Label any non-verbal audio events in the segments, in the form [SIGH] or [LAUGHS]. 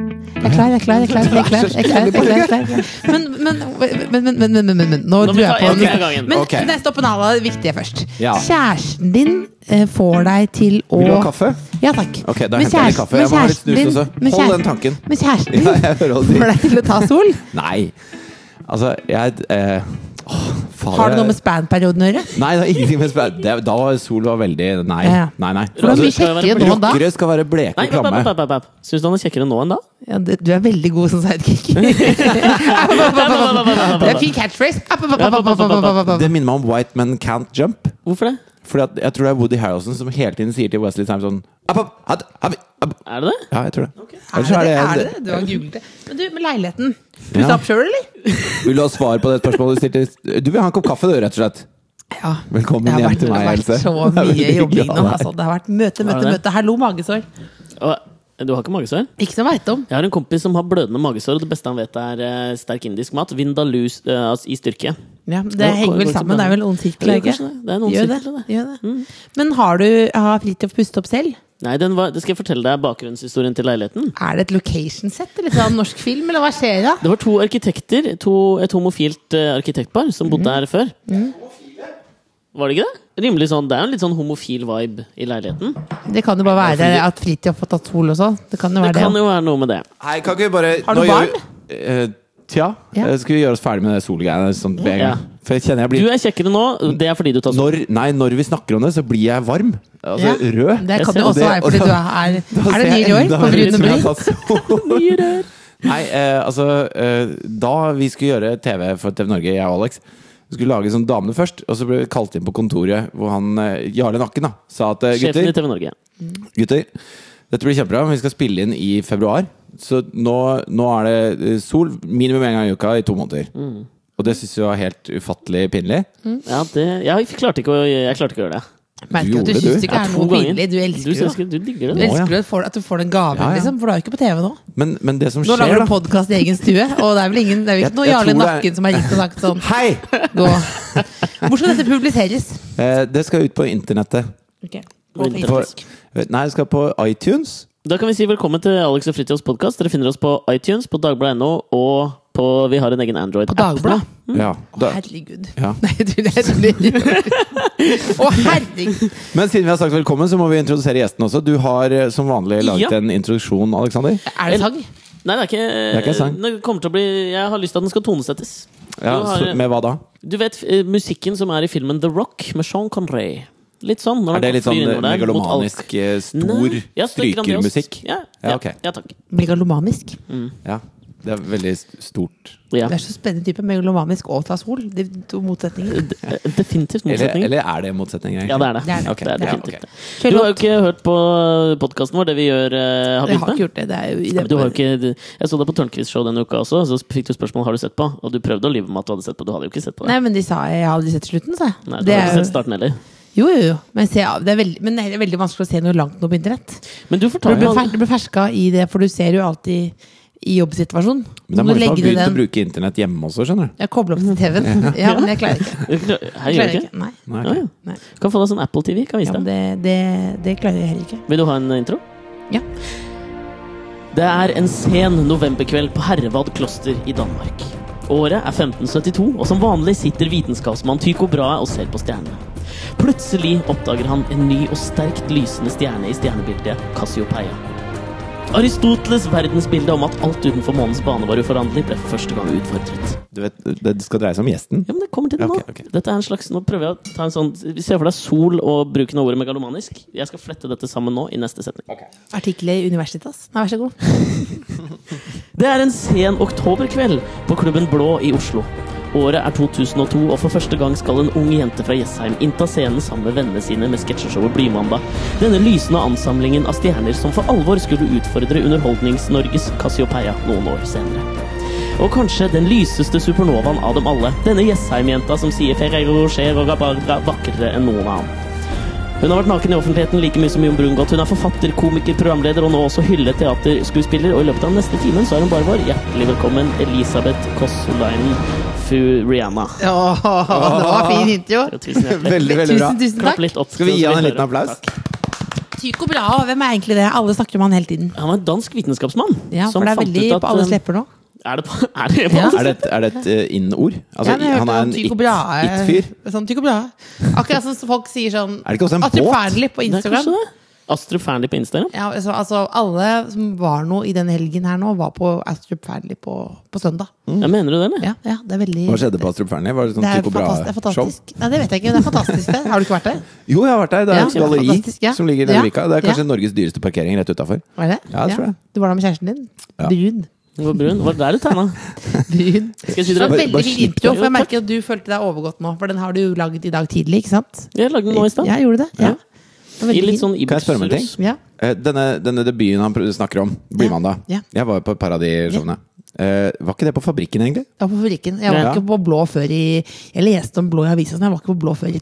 klar, jeg er klar, jeg er klar. Jeg er klar, jeg er klar, jeg er klar, jeg er klar, jeg er klar. Men, men, men, men, men, men, men, men, men Nå Nå må dro vi jeg ta på en ting av gangen. Men Ok. nettopp en av det viktige først. Ja. Kjæresten din eh, får deg til å Vil du ha kaffe? Ja takk. Ok, da Men henter jeg kjæresten- litt kaffe. Jeg men må ha litt snus kjæresten din- også. men Hold den kjæresten- tanken. [LAUGHS] Men kjæresten Ja, din jeg [LAUGHS] hører hva du får sier. deg til å ta sol? Nei. Altså, jeg eh, åh, faen, Har det jeg- noe med span-perioden å gjøre? Nei, det har ingenting med spen det, Da var sol var veldig Nei, Ja. nei. nei. For det er Altså, mye kjekkere nå enn da. rockere skal være bleke Nei, og bap, bap, klamme. bap, bap, bap. Syns du han er kjekkere nå enn da? Ja, det- du er veldig god som sidekick. Det er fin catchphrase. App, app, app, app, app, app, app, app, app. Det minner meg om White Men Can't Jump. Hvorfor det? Fordi at, jeg tror det er Woody Harrelson som hele tiden sier til Wesley Time sånn app, app, app, app, app. Er det det? Ja, jeg tror det. Er Ellers det så det? er Er det, det det? Du har googlet det. Men du, med leiligheten. Ja. Pussa opp sjøl, eller? Vil du ha svar på det spørsmålet du stilte? Du vil ha en kopp kaffe, du, rett og slett. Ja. Velkommen det har hjem vært, til meg, Else. Det har [LAUGHS] Det er vært så mye veldig jobbing glad nå. der. Altså, det har vært møte, Har møte, det? møte. Hallo, magesår. Og du har ikke magesår? Ikke som jeg veit om. Jeg har en kompis som har blødende magesår, og det beste han vet, er eh, sterk indisk mat. Vindalus eh, altså, i styrke. Ja, det Ja, henger går vel ikke sammen. Det er vel ond sirkel, Ja, ikke? kanskje det. Det er en ond Gjør sirkel, det. Gjør det. Mm. Men har du har Fridtjof pustet opp selv? Nei, den var, det skal jeg fortelle deg bakgrunnshistorien til leiligheten. Er det et location set eller sånn norsk film, eller hva skjer da? Det var to arkitekter, to, et homofilt eh, arkitektpar, som Mhm. bodde her før. Var det ikke det? Rimelig sånn, Det er jo en litt sånn homofil vibe i leiligheten. Det kan jo bare være at Fridtjof har tatt sol også. Det kan jo Det være det. kan jo være noe med det. Hei, kan ikke vi bare Har du nå gjør barn? vi- Eh, tja. Ja. Eh, Skal vi gjøre oss ferdig med det solgreiene sånn med en Ja. gang? For jeg kjenner jeg Du blir er kjekkere nå. Det er fordi du tar sol. når, Nei, når vi snakker om det, så blir jeg varm. Altså Ja. rød. Det kan ser- jo også det- være og fordi [LAUGHS] du da- er Er Da det ser nye jeg år enda på mer ut brune som jeg bry? har [LAUGHS] tatt sol. Nye rør. Nei, eh, altså eh, Da vi skulle gjøre TV for TV Norge, jeg og Alex vi skulle lage sånn damene først, og så ble vi kalt inn på kontoret hvor han, eh, Jarle Nakken da, sa at eh, Sjefen i gutter, TV Norge. gutter, dette blir kjempebra, men vi skal spille inn i februar. Så nå, nå er det eh, sol minimum én gang i uka i to måneder. Mm. Og det syns vi var helt ufattelig pinlig. Ja, det, jeg, klarte ikke å, jeg klarte ikke å gjøre det. Merker at Gjorde du du? syns det ikke Ja, er to noe ganger. pinlig. Du Du, elsker jo elsker, du digger Du det. Nå, ja. elsker jo at får- at du får den gaven, Ja, ja. liksom. For du er jo ikke på TV nå. Men, men det som Nå skjer, lager du da podkast i egen stue, og det er vel ingen Det er jo Jeg- ikke noe jeg Jarle tror det er- Nakken som har ringt og sagt sånn Hei! Gå. Hvor skal dette publiseres? Eh, det skal ut på internettet. På På, internett. nei, det skal på iTunes. Da kan vi si velkommen til Alex og Fritjofs podkast. Dere finner oss på iTunes, på dagbladet.no, og på, vi har en egen På Android-app. Dagbladet? Mm. Ja, da, Herregud. ja. [LAUGHS] Nei, du, det er tuller. Å, herregud. Men siden vi har sagt velkommen, så må vi introdusere gjesten også. Du har eh, som vanlig laget Ja. en introduksjon, Alexander. Er det sang? Nei, det er ikke, er ikke en sang. det kommer til å bli, jeg har lyst til at den skal tonesettes. Ja, du, så, har, med hva da? du vet eh, musikken som er i filmen The Rock med Sean Conray? Litt sånn. Når Er det han litt sånn flyr eh, innover der mot alt. megalomanisk, eh, stor Nei, ja, så det er grandios. strykermusikk? Ja, Ja, ja, ok. ja, takk. Megalomanisk. Ja. Det er veldig st- stort. Ja. Det er så spennende type megalomanisk og ta sol. De to motsetninger. Eh, Definitivt Eller, motsetning. eller er det en motsetning? egentlig? Ja, det er det. Det er det. Ok, Det er ja, definitivt ok. det. Du har jo ikke hørt på podkasten vår, det vi gjør, eh, har Jeg begynt har med. ikke gjort det. det er jo, Men Du har jo ikke, jeg så deg på Tørnquist-show denne uka også, så fikk du spørsmål har du sett på. Og du prøvde å lyve om at du hadde sett på, du hadde jo ikke sett på det. Nei, men de sa jeg har aldri sett slutten, sa jeg. Nei, du Det har er ikke jo- sett starten heller. Jo, jo, jo. Men, se, ja, det er veldig, men det er veldig vanskelig å se noe langt nå på internett. Men du Du fortalte blir, meg fer, du blir ferska i det, for du ser jo alltid i jobbsituasjonen. Men det er Om du mange som har legger i begynt den- å bruke internett hjemme også, skjønner du. Jeg kobler opp til TV-en. [LAUGHS] Ja, men jeg klarer ikke. Her Jeg gjør klarer du ikke. ikke. Nei. Nei, Ja, ok. ja. Nei. Kan få deg sånn Apple TV, kan Ja, vise men det, deg. det, det klarer jeg heller ikke. Vil du ha en eh, intro? Ja. Det er en sen novemberkveld på Hervad kloster i Danmark. Året er 1572, og som vanlig sitter vitenskapsmann Tycho Brahe og ser på stjernene. Plutselig oppdager han en ny og sterkt lysende stjerne i stjernebildet Cassiopeia. Aristoteles' verdensbilde om at alt utenfor månens bane var uforanderlig, ble for første gang utfordret. Du vet, det skal dreie seg om gjesten. [LAUGHS] Ja, men det kommer til det nå. Ok, ok. Dette er en slags, nå prøver jeg å ta en sånn Se for deg sol og bruken av ordet megalomanisk. Jeg skal flette dette sammen nå i neste setning. Artikler i Universitas. Nei, vær så god. [LAUGHS] Det er en sen oktoberkveld på klubben Blå i Oslo. Året er 2002, og for første gang skal en ung jente fra Jessheim innta scenen sammen med vennene sine med sketsjeshowet Blymandag. Denne lysende ansamlingen av stjerner som for alvor skulle utfordre Underholdnings-Norges Cassiopeia noen år senere. Og kanskje den lyseste supernovaen av dem alle. Denne Jessheim-jenta som sier Ferrero Rocher og Rabarbra vakrere enn noen annen. Hun har vært naken i offentligheten like mye som Jon Brungot. Hun er forfatter, komiker, programleder og nå også hyllet teaterskuespiller. Og i løpet av den neste timen så er hun bare vår. Hjertelig velkommen, Elisabeth Kossolainen Furiana. Åh, det var fin intro. Tusen hjertelig. Veldig, veldig bra. Tusen, tusen Klapp takk. litt opp. Skal vi gi så han en hører. liten applaus? Takk. Tycho Brahe, hvem er egentlig det? Alle snakker om han hele tiden. Han var en dansk vitenskapsmann. Ja, for det er veldig på alles eh, lepper nå. Er det på, er det på Ja. alles Er det et, er det et eh, in-ord? Altså, Ja, men jeg han hørte er om en Tycho Brahe- it-fyr. Sånn Tycho Brahe. Akkurat som folk sier sånn Er det ikke også en Astrup båt? Fearnley på Det er kanskje Instagram. det. Astrup Fearnley på Instagram. Ja, altså, altså, alle som var noe i den helgen her nå, var på Astrup Fearnley på, på søndag. Ja, mener du det, eller? Ja, ja, det er veldig Mm. Hva skjedde på Astrup Fearnley? Var det sånn det er, Tycho fantastisk, det er Brahe-show? fantastisk. Nei, det vet jeg ikke. men Det er fantastisk, det. Har du ikke vært der? Jo, jeg har vært der. Det er Ja. et galleri Fantastisk, ja. som ligger nede i Ja. Vika. Det er kanskje Norges dyreste parkering rett utafor. Var det? Ja, jeg tror det. Du var der med kjæresten din? Ja. Brun. Det var brun. Var det der du tegna? Brun. Skal jeg si Det var dere Bare- veldig bare fin slipp intro, det. for jeg merker at du følte deg overgått nå. For den har du jo laget i dag tidlig, ikke sant? Jeg lagde den nå i stad. Ja, gjorde det? Ja. Ja. Det var I veldig fin. litt sånn Kan jeg spørre om en ting? Ibux-rus. Ja. Eh, Denne, denne debuten han pr- snakker om, Blymandag. Ja. Jeg var jo på Paradisshowene. Eh, var ikke det på Fabrikken, egentlig? Jeg var på fabrikken. Jeg var Ja. ikke på blå før i Jeg leste om blå i avisa, men jeg var ikke på blå før i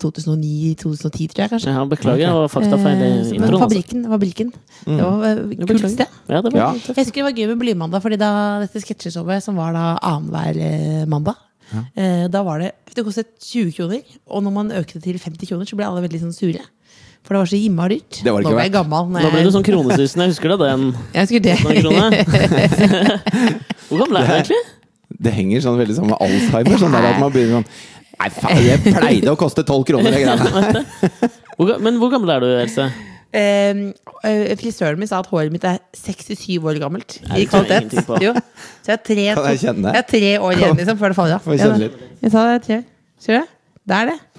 2009-2010, tror jeg kanskje. Ja, beklager, det var faktafeil i Eh, så- Men introen. altså. fabrikken, fabrikken. Det var eh, Ja, kult beklager. sted. Ja, det var Ja. kult. Jeg husker det var gøy med Blymandag, fordi da dette sketsjeshowet som var da annenhver eh, mandag eh, Da var det Det kostet 20 kroner, og når man økte til 50 kroner, så ble alle veldig sånn sure. For det var så innmari dyrt. Det var Nå det ikke ble jeg verdt. gammel. når Da ble jeg- du sånn kronesusen. Jeg husker da den. Jeg husker det. Noen kroner. Hvor gammel er du egentlig? Det henger sånn veldig sammen med Alzheimer. Sånn der at man begynner sånn Nei, faen, [LAUGHS] det pleide å koste tolv kroner, det greiene. Hvor, ga- men hvor gammel er du, Else? [LAUGHS] Eh, eh, frisøren min sa at håret mitt er 67 år gammelt. Nei, I det tror jeg kvalitet. ingenting på. Jo. Så jeg er tre, Kan jeg kjenne? jeg er tre år igjen liksom, før det faller av. Får jeg kjenne litt? Jeg sa det. Tre. Ser du det? Det er det. Det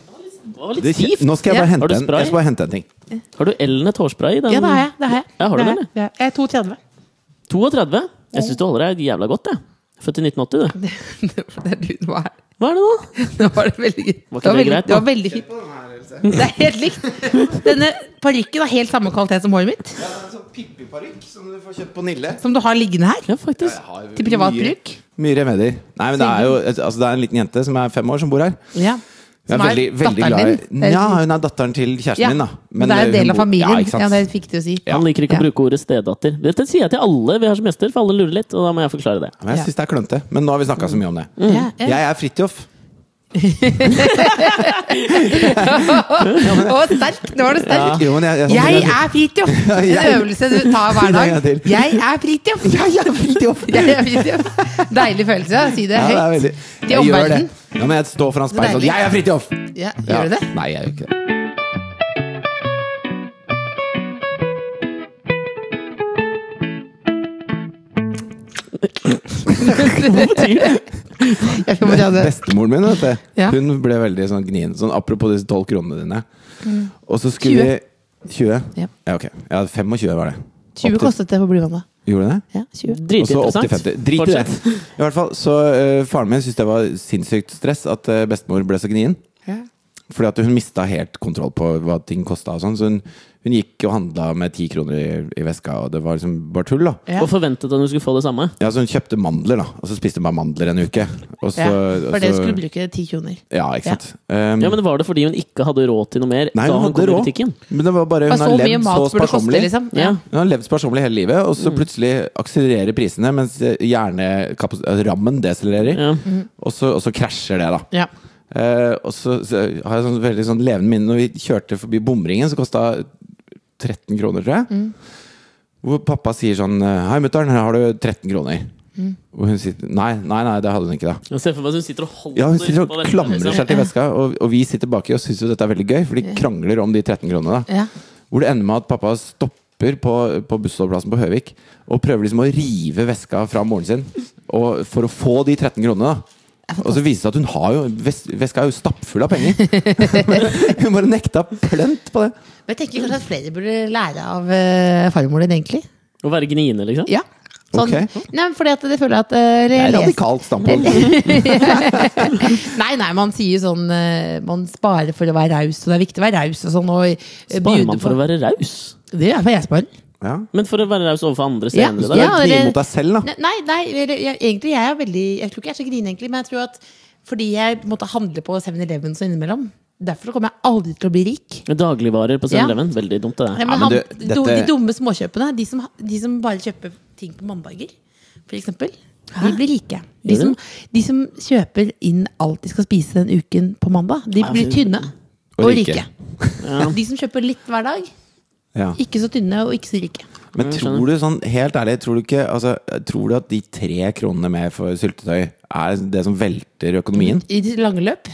var Det er litt kje- stivt. Nå skal Ja. jeg bare Har hente du en, spray? jeg skal bare hente en ting. Har du Elnet hårspray? i Den? Ja, det har jeg. Det har jeg. Ja, har du Det den, jeg. Ja, Jeg er 2,30. 32? Jeg syns du holder deg jævla godt, jeg. Født i 1980, [LAUGHS] du. Det det er du som er [LAUGHS] her. Hva er det nå? Nå var det veldig gøy. Var det var ikke det veldig, greit, det da? var veldig fint. Det er helt likt. Denne parykken har helt samme kvalitet som håret mitt. Sånn Pippi-parykk som du får kjøpt på Nille. Som du har liggende her. Ja, faktisk. Til privat bruk. Mye remedier. Nei, men det er jo altså, det er en liten jente som er fem år, som bor her. Ja. Hun er Som er veldig, veldig datteren glad din? i Ja, hun er datteren til kjæresten Ja. min, da. Men det er en eh, del hun av bor- Ja, familien. ikke sant? Ja, det fikk du å si. Han liker ikke Ja. å bruke ordet stedatter. Dette sier jeg til alle vi har som gjester, for alle lurer litt, og da må jeg forklare det. Men jeg Ja. syns det er klønete. Men nå har vi snakka så mye om det. Ja, ja. Jeg er Fridtjof. [LAUGHS] Å, sterk! Nå var du sterk. Jo, men jeg, jeg, Jeg er [LAUGHS] Fridtjof! En jeg- øvelse du tar hver [LAUGHS] En gang dag. til. Jeg er [LAUGHS] Fridtjof! Jeg er Fridtjof! Deilig følelse. å Si det ja, det er høyt. veldig, Til jeg gjør det. omverdenen. Ja, men jeg står foran speilet sånn Deilig. Jeg er Fridtjof! Ja, Ja. [LAUGHS] gjør du det? Nei, jeg gjør ikke det. [LAUGHS] Jeg skal bare ta det. Bestemoren min, vet du. Ja. Hun ble veldig sånn gnien. Sånn apropos disse tolv kronene dine. Og så skulle 20. vi 20? Mm. Ja. ja, ok. Ja, 25 var det. 20 kostet det på Blyvannet. Gjorde det? Ja, 20. Og så opp til 50. Drit i det. Fortsett. I hvert fall, så eh, Faren min syntes det var sinnssykt stress at eh, bestemor ble så gnien. Ja. Fordi at hun mista helt kontroll på hva ting kosta. Sånn. Så hun, hun gikk og handla med ti kroner i, i veska, og det var liksom bare tull. da Ja. Og forventet at hun skulle få det samme. Ja, Så hun kjøpte mandler, da og så spiste hun bare mandler en uke. Og så, Ja, og for dere så- altså- skulle bruke 10 kroner. Ja, ikke sant. Um, Ja, Men var det fordi hun ikke hadde råd til noe mer nei, da hun hun hadde kom i råd. butikken? Men det var bare Det hun var har så mye levd så mat burde det koste, sparsommelig. liksom. Ja. Hun har levd sparsommelig hele livet, og Mm. så plutselig akselererer prisene, mens hjernerammen deselererer. Ja. Og, så, og så krasjer det, da. Mm. Ja. Eh, og så, så har jeg sånn veldig sånn levende minne Når vi kjørte forbi bomringen, så kosta 13 kroner, tror jeg. Mm. Hvor pappa sier sånn Hei, mutter'n, her har du 13 kroner. Mm. Og hun sier nei, nei, nei, det hadde hun ikke, da. Jeg ser for meg at hun sitter og holder Ja, Hun sitter og på veska, klamrer liksom. seg til veska, og, og vi sitter baki og syns jo dette er veldig gøy, for de krangler om de 13 kronene. da Ja. Hvor det ender med at pappa stopper på, på bussholdeplassen på Høvik og prøver liksom å rive veska fra moren sin og, for å få de 13 kronene. da og så viser det seg at hun har jo ves- Veska er jo stappfull av penger! [LAUGHS] hun bare nekta plent på det. Men jeg tenker kanskje at flere burde lære av eh, farmor din, egentlig. Å være gniende, liksom. Ja. Sånn. Ok. Nei, men fordi at det føler jeg at eh, Det jeg er leser- radikalt standpunkt. Nei, nei, man sier jo sånn eh, Man sparer for å være raus, og det er viktig å være raus og sånn. Og, eh, Sparer bjude man for på- å være raus? Det er for jeg sparer. Ja. Men for å være raus overfor andre Ja. senere, Du er da? Ja, gni det- mot deg selv, da. Ne- Nei, nei eller, jeg, egentlig jeg er veldig Jeg tror ikke jeg er så grinende, egentlig, men jeg tror at fordi jeg måtte handle på 7-Eleven så innimellom. Derfor kommer jeg aldri til å bli rik. Dagligvarer på Ja. 7-Eleven, veldig dumt Ja, det der. men Ja, men han, du, do- dette- De dumme småkjøpene, de som, de som bare kjøper ting på mandager, for eksempel, de blir rike. De Gjør som, de som kjøper inn alt de skal spise den uken på mandag, de Ja, blir fy- tynne Og og rike. rike. De som kjøper litt hver dag, Ja. Ikke så tynne og ikke så rike. Men jeg tror du sånn, helt ærlig, tror du ikke altså, Tror du at de tre kronene mer for syltetøy er det som velter økonomien? I det lange [LAUGHS] løp.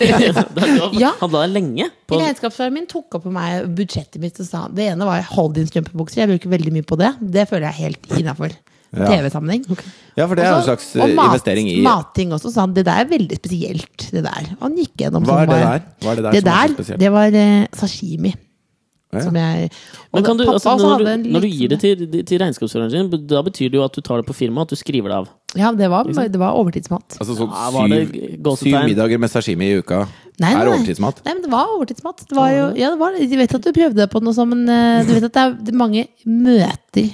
Ja. [LAUGHS] ja. Handla det lenge? På, Regnskapsføreren min tok opp med meg budsjettet mitt og sa det ene var Holdings-strømpebukser. Jeg bruker veldig mye på det. Det føler jeg er helt innafor. Ja. TV-sammenheng. Ja, for det er jo en Også- slags Altså, og eh, mat- investering i Matting også, sa han. Det der er veldig spesielt, det der. Og han gikk gjennom Hva er som det var- der? Hva er det der Det som er så der, spesielt? det var eh, sashimi. Ja. Som jeg og men kan du, pappa altså, også når, hadde en du, når du liksom- gir det til, til regnskapsføreren sin, da betyr det jo at du tar det på firmaet, at du skriver det av. Ja, det var, det var overtidsmat. Altså sånn Ja, var det syv, syv gåsetegn? middager med sashimi i uka er overtidsmat. Nei, men det var overtidsmat. Det var jo, ja, det var, det. jeg vet at du prøvde deg på noe sånt, men eh, du vet at det er det er mange møter.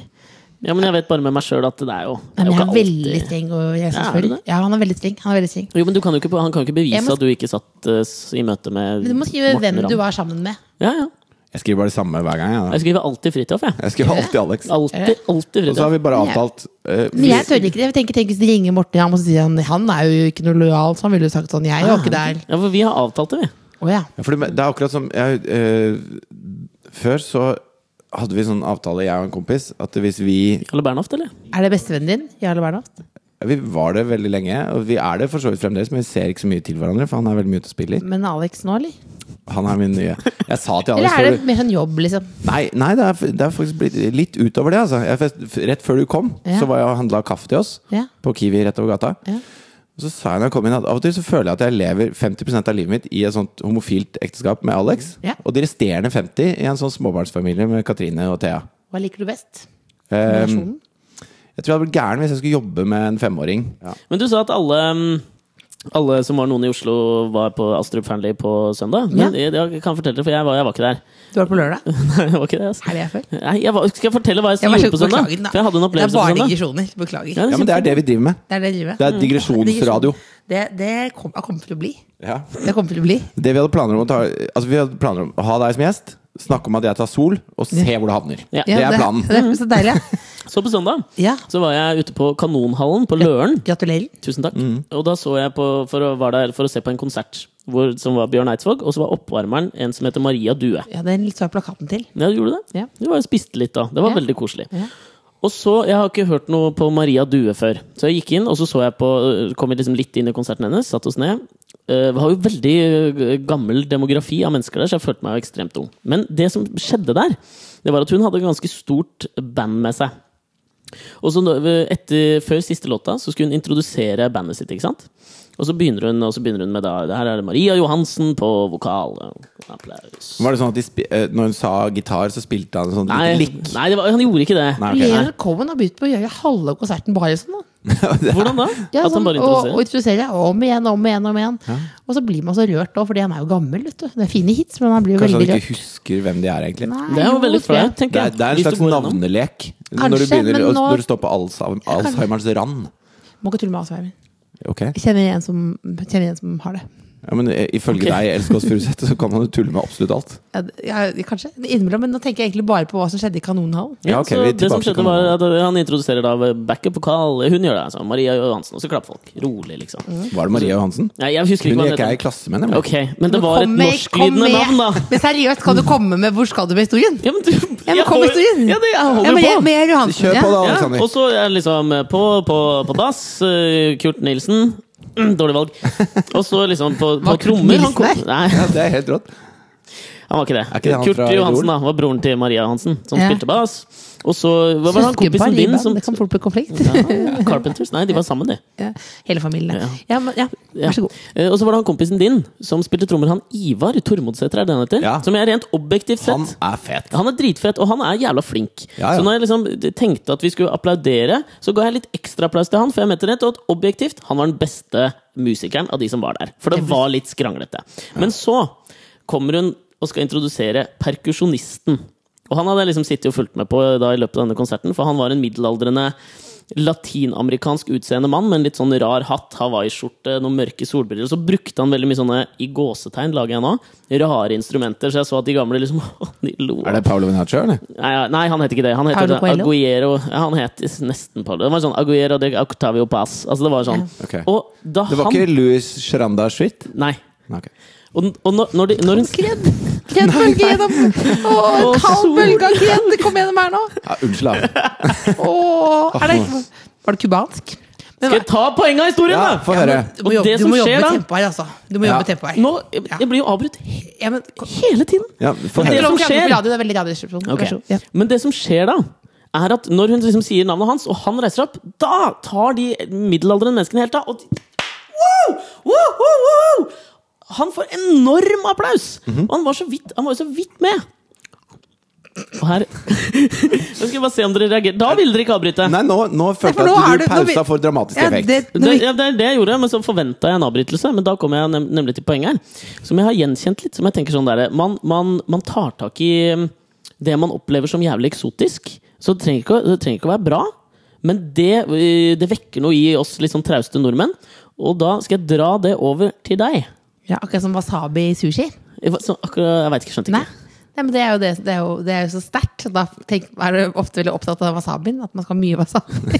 Ja, men jeg vet bare med meg sjøl at det er jo det Nei, men er jeg jo er ikke veldig alltid- streng. Og jeg Ja, er du selvfølgelig- ja, han er veldig streng. Han er veldig streng. Jo, men du kan jo ikke, han kan jo ikke bevise Jeg må- at du ikke satt eh, s- i møte med Men du må skrive Morten hvem Ramm. du var sammen med. Ja, ja. Jeg skriver bare det samme hver gang. Jeg, da. Jeg skriver alltid Fridtjof, jeg. jeg skriver alltid Alex. Alltid, alltid Og så har Fridtjof. vi bare Men jeg- avtalt eh, Men jeg tør ikke det. Jeg tenker, tenk hvis de ringer Morten Ramm og så sier han han er jo ikke noe lojal, så han ville jo sagt sånn Jeg var ikke der. Ja, for vi har avtalt det, vi. Å ja. Ja, for det, det er akkurat som jeg, eh, Før så hadde vi sånn avtale, jeg og en kompis, at hvis vi Jarle Bernhoft, eller? Er det bestevennen din? Jarle Bernhoft? Vi var det veldig lenge, og vi er det for så vidt fremdeles, men vi ser ikke så mye til hverandre, for han er veldig mye ute og spiller. Men Alex nå, eller? Han er min nye Jeg sa til Alex Eller før er du- det mer sånn jobb, liksom? Nei, nei det, er, f- det er faktisk blitt litt utover det. Altså. Jeg, fest- rett før du kom, Ja. så var jeg og handla kaffe til oss Ja. på Kiwi rett over gata. Ja. Og så sa jeg når jeg kom inn at av og til så føler jeg at jeg lever 50 av livet mitt i et sånt homofilt ekteskap med Alex, Ja. og de resterende 50 i en sånn småbarnsfamilie med Katrine og Thea. Hva liker du best? Ehm, Relasjonen? jeg tror jeg hadde blitt gæren hvis jeg skulle jobbe med en femåring. Men du sa at alle mm, alle som var noen i Oslo, var på Astrup Fearnley på søndag. Men jeg, jeg kan fortelle det, for jeg var, jeg var ikke der. [LAUGHS] Du var på lørdag? Nei, jeg var ikke det, altså. Er det jeg føler? Nei, jeg var, skal jeg fortelle hva jeg, Jeg var så gjorde på søndag? beklager, da. For jeg hadde en Det er opplevelse bare på søndag. digresjoner. Beklager. Ja, Ja, men det er det vi driver med. Det er det jeg driver med. Det er digresjonsradio. Det, det kom, har kommet til å bli. Ja. Det kommer til å bli. Det vi hadde planer om å ta Altså vi hadde planer om å ha deg som gjest, snakke om at jeg tar sol, og se hvor det havner. Ja. Det er planen. Det, er så deilig. Så på søndag Ja. så var jeg ute på Kanonhallen på Løren. Gratulerer. Tusen takk. Og da så jeg på, for å, var der for å se på en konsert hvor, som var Bjørn Eidsvåg, og så var oppvarmeren en som heter Maria Due. Ja, den så jeg plakaten til. Ja, du gjorde det? Ja. Du bare spiste litt da. Det var Ja. veldig koselig. Ja. Og så, Jeg har ikke hørt noe på Maria Due før. Så jeg gikk inn, og så, så jeg på, kom jeg liksom litt inn i konserten hennes. Satt oss ned. Eh, Vi har jo veldig eh, gammel demografi av mennesker der, så jeg følte meg jo ekstremt ung. Men det som skjedde der, det var at hun hadde et ganske stort band med seg. Og så når- etter, Før siste låta så skulle hun introdusere bandet sitt. ikke sant? Og så begynner hun, og så begynner hun med da, det her er det Maria Johansen på vokal. Applaus. Var det sånn at de spi eh, når hun sa gitar, så spilte han sånn Nei, lite likk? nei det var, han gjorde ikke det. Nei, ok. Leonard Cohen har begynt på å gjøre halve konserten bare sånn. da. Hvordan da? Ja, At han sånn, bare og, og introduserer? introduserer om igjen, om igjen, om igjen. Og så blir man så rørt òg, fordi han er jo gammel. vet du. Det er fine hits, men han blir jo Kanskje veldig han rørt. ikke husker hvem de er, egentlig? Nei, Det er jo veldig tror jeg. flaut, tenker Det jeg. er, det er en Hvis du slags går gjennom. navnelek Kanskje, når du begynner men å- nå- Når du står på Alzheimer, Alzheimers rand. Må ikke tulle med Alzheimer. Ok Jeg Kjenner en som, kjenner en som har det. ja, Men eh, ifølge Ok. deg, Else Kåss Furuseth, så kan man jo tulle med absolutt alt. Ja, det- ja, kanskje. Men Innimellom. Men nå tenker jeg egentlig bare på hva som skjedde i Kanonhallen. Ja, ok, så vi er det som tilbake til skjedde var kanalen. at Han introduserer da backup-vokal. Hun gjør det, altså. Maria Johansen. Og så klapper folk. Rolig, liksom. Mm. Var det Maria Johansen? Nei, jeg husker ikke Hun hva gikk han jeg i het. klasse med, nemlig. Ok, Men det Men var kom et med- kom norsklydende med. navn, da. [LAUGHS] Men seriøst, kan du komme med 'Hvor skal du med historien'? Ja, men du Ja, men jeg kom med holder- historien! Ja, det, jeg Ja, holder men på. jeg- Med Johansen. Kjør på, da, Ja, Alexander. og så er jeg liksom på, på, på bass eh, Kurt Nilsen. Dårlig valg. Og så liksom på, på Var Kurt trommer han Nilsen kom, der? Nei, Ja, det er helt rått. Han var ikke det. ikke det han Kurt fra Johansen Idol? da, var broren til Maria Johansen, som Ja. spilte bass. Og så hva var han Søskenpar i kompisen din band, liksom. som det kan fort bli konflikt. ja, Carpenters? Nei, de var sammen, de. [LAUGHS] Ja, Hele familien. Ja. Ja. men, ja. Ja. Vær så god. Eh, Og så var det han kompisen din som spilte trommer. Han Ivar Tormodsæter, er det han heter? Ja. Som jeg rent objektivt sett Han er fet. han er dritfett, og han er jævla flink. Ja, ja. Så når jeg liksom tenkte at vi skulle applaudere, så ga jeg litt ekstra applaus til han. For jeg mente rett og slett objektivt, han var den beste musikeren av de som var der. For det var litt skranglete. Men så kommer hun og skal introdusere perkusjonisten. Og han hadde jeg liksom sittet og fulgt med på da i løpet av denne konserten, for han var en middelaldrende latinamerikansk utseende mann med en litt sånn rar hatt, hawaiiskjorte, noen mørke solbriller. Og så brukte han veldig mye sånne, i gåsetegn lager jeg nå, rare instrumenter. Så jeg så at de gamle liksom [LAUGHS] De lo. Er det Paolo Venaccio, eller? Nei, ja, nei, han het ikke det. Han het Paulo det- Coelho? Aguero. Ja, han het nesten Paulo. Det var sånn Aguero de Octavio Paz. Altså, det var sånn. Ok. Og da Det var han ikke Louis Shranda Schwitt? Nei. Nei, ok. Og, og når, når, de, når hun Skred. Kent bølge gjennom Å, Å, kald sol. bølge av Kent! Kom gjennom her nå! Ja, unnskyld, da. Å, er det, var det cubansk? Skal jeg ta poenget av historien, Ja, da? få høre. Du må Og det jobbe, du som må jobbe skjer med da- tempoet her, altså. Du må Ja. jobbe med tempoet her. Nå, jeg, jeg blir jo avbrutt he Ja, men, kom, hele tiden. Ja, få Det det, høre. som skjer- radio, det er veldig radioresepsjon. Ok. Vær så god. Ja. Men det som skjer da, er at når hun liksom sier navnet hans, og han reiser opp, da tar de middelaldrende menneskene helt av. Og de, wow! Wow, wow, wow! Han får enorm applaus! Og han var, så vidt, han var jo så vidt med. Og her [LAUGHS] Nå skal vi bare se om dere reagerer. Da ville dere ikke avbryte. Nei, nå, nå Nei, for følte nå jeg er at det- du nå vi- pausa for dramatisk Ja, effekt. det- Det, ja, det er det jeg gjorde, men så forventa jeg en avbrytelse. Men da kom jeg nem nemlig til poenget her. Som jeg har gjenkjent litt. Som jeg tenker sånn der, man, man, man tar tak i mm, det man opplever som jævlig eksotisk. Så det trenger ikke, å- det trenger ikke å være bra, men det, øh, det vekker noe i oss litt sånn trauste nordmenn. Og da skal jeg dra det over til deg. Ja, akkurat som wasabi i sushi. Jeg, var- så akkurat, jeg vet ikke, skjønte Nei. ikke. Nei, men det er jo, det, det er jo, det er jo så sterkt. Da tenk, er du ofte veldig opptatt av wasabien. At man skal ha mye wasabi.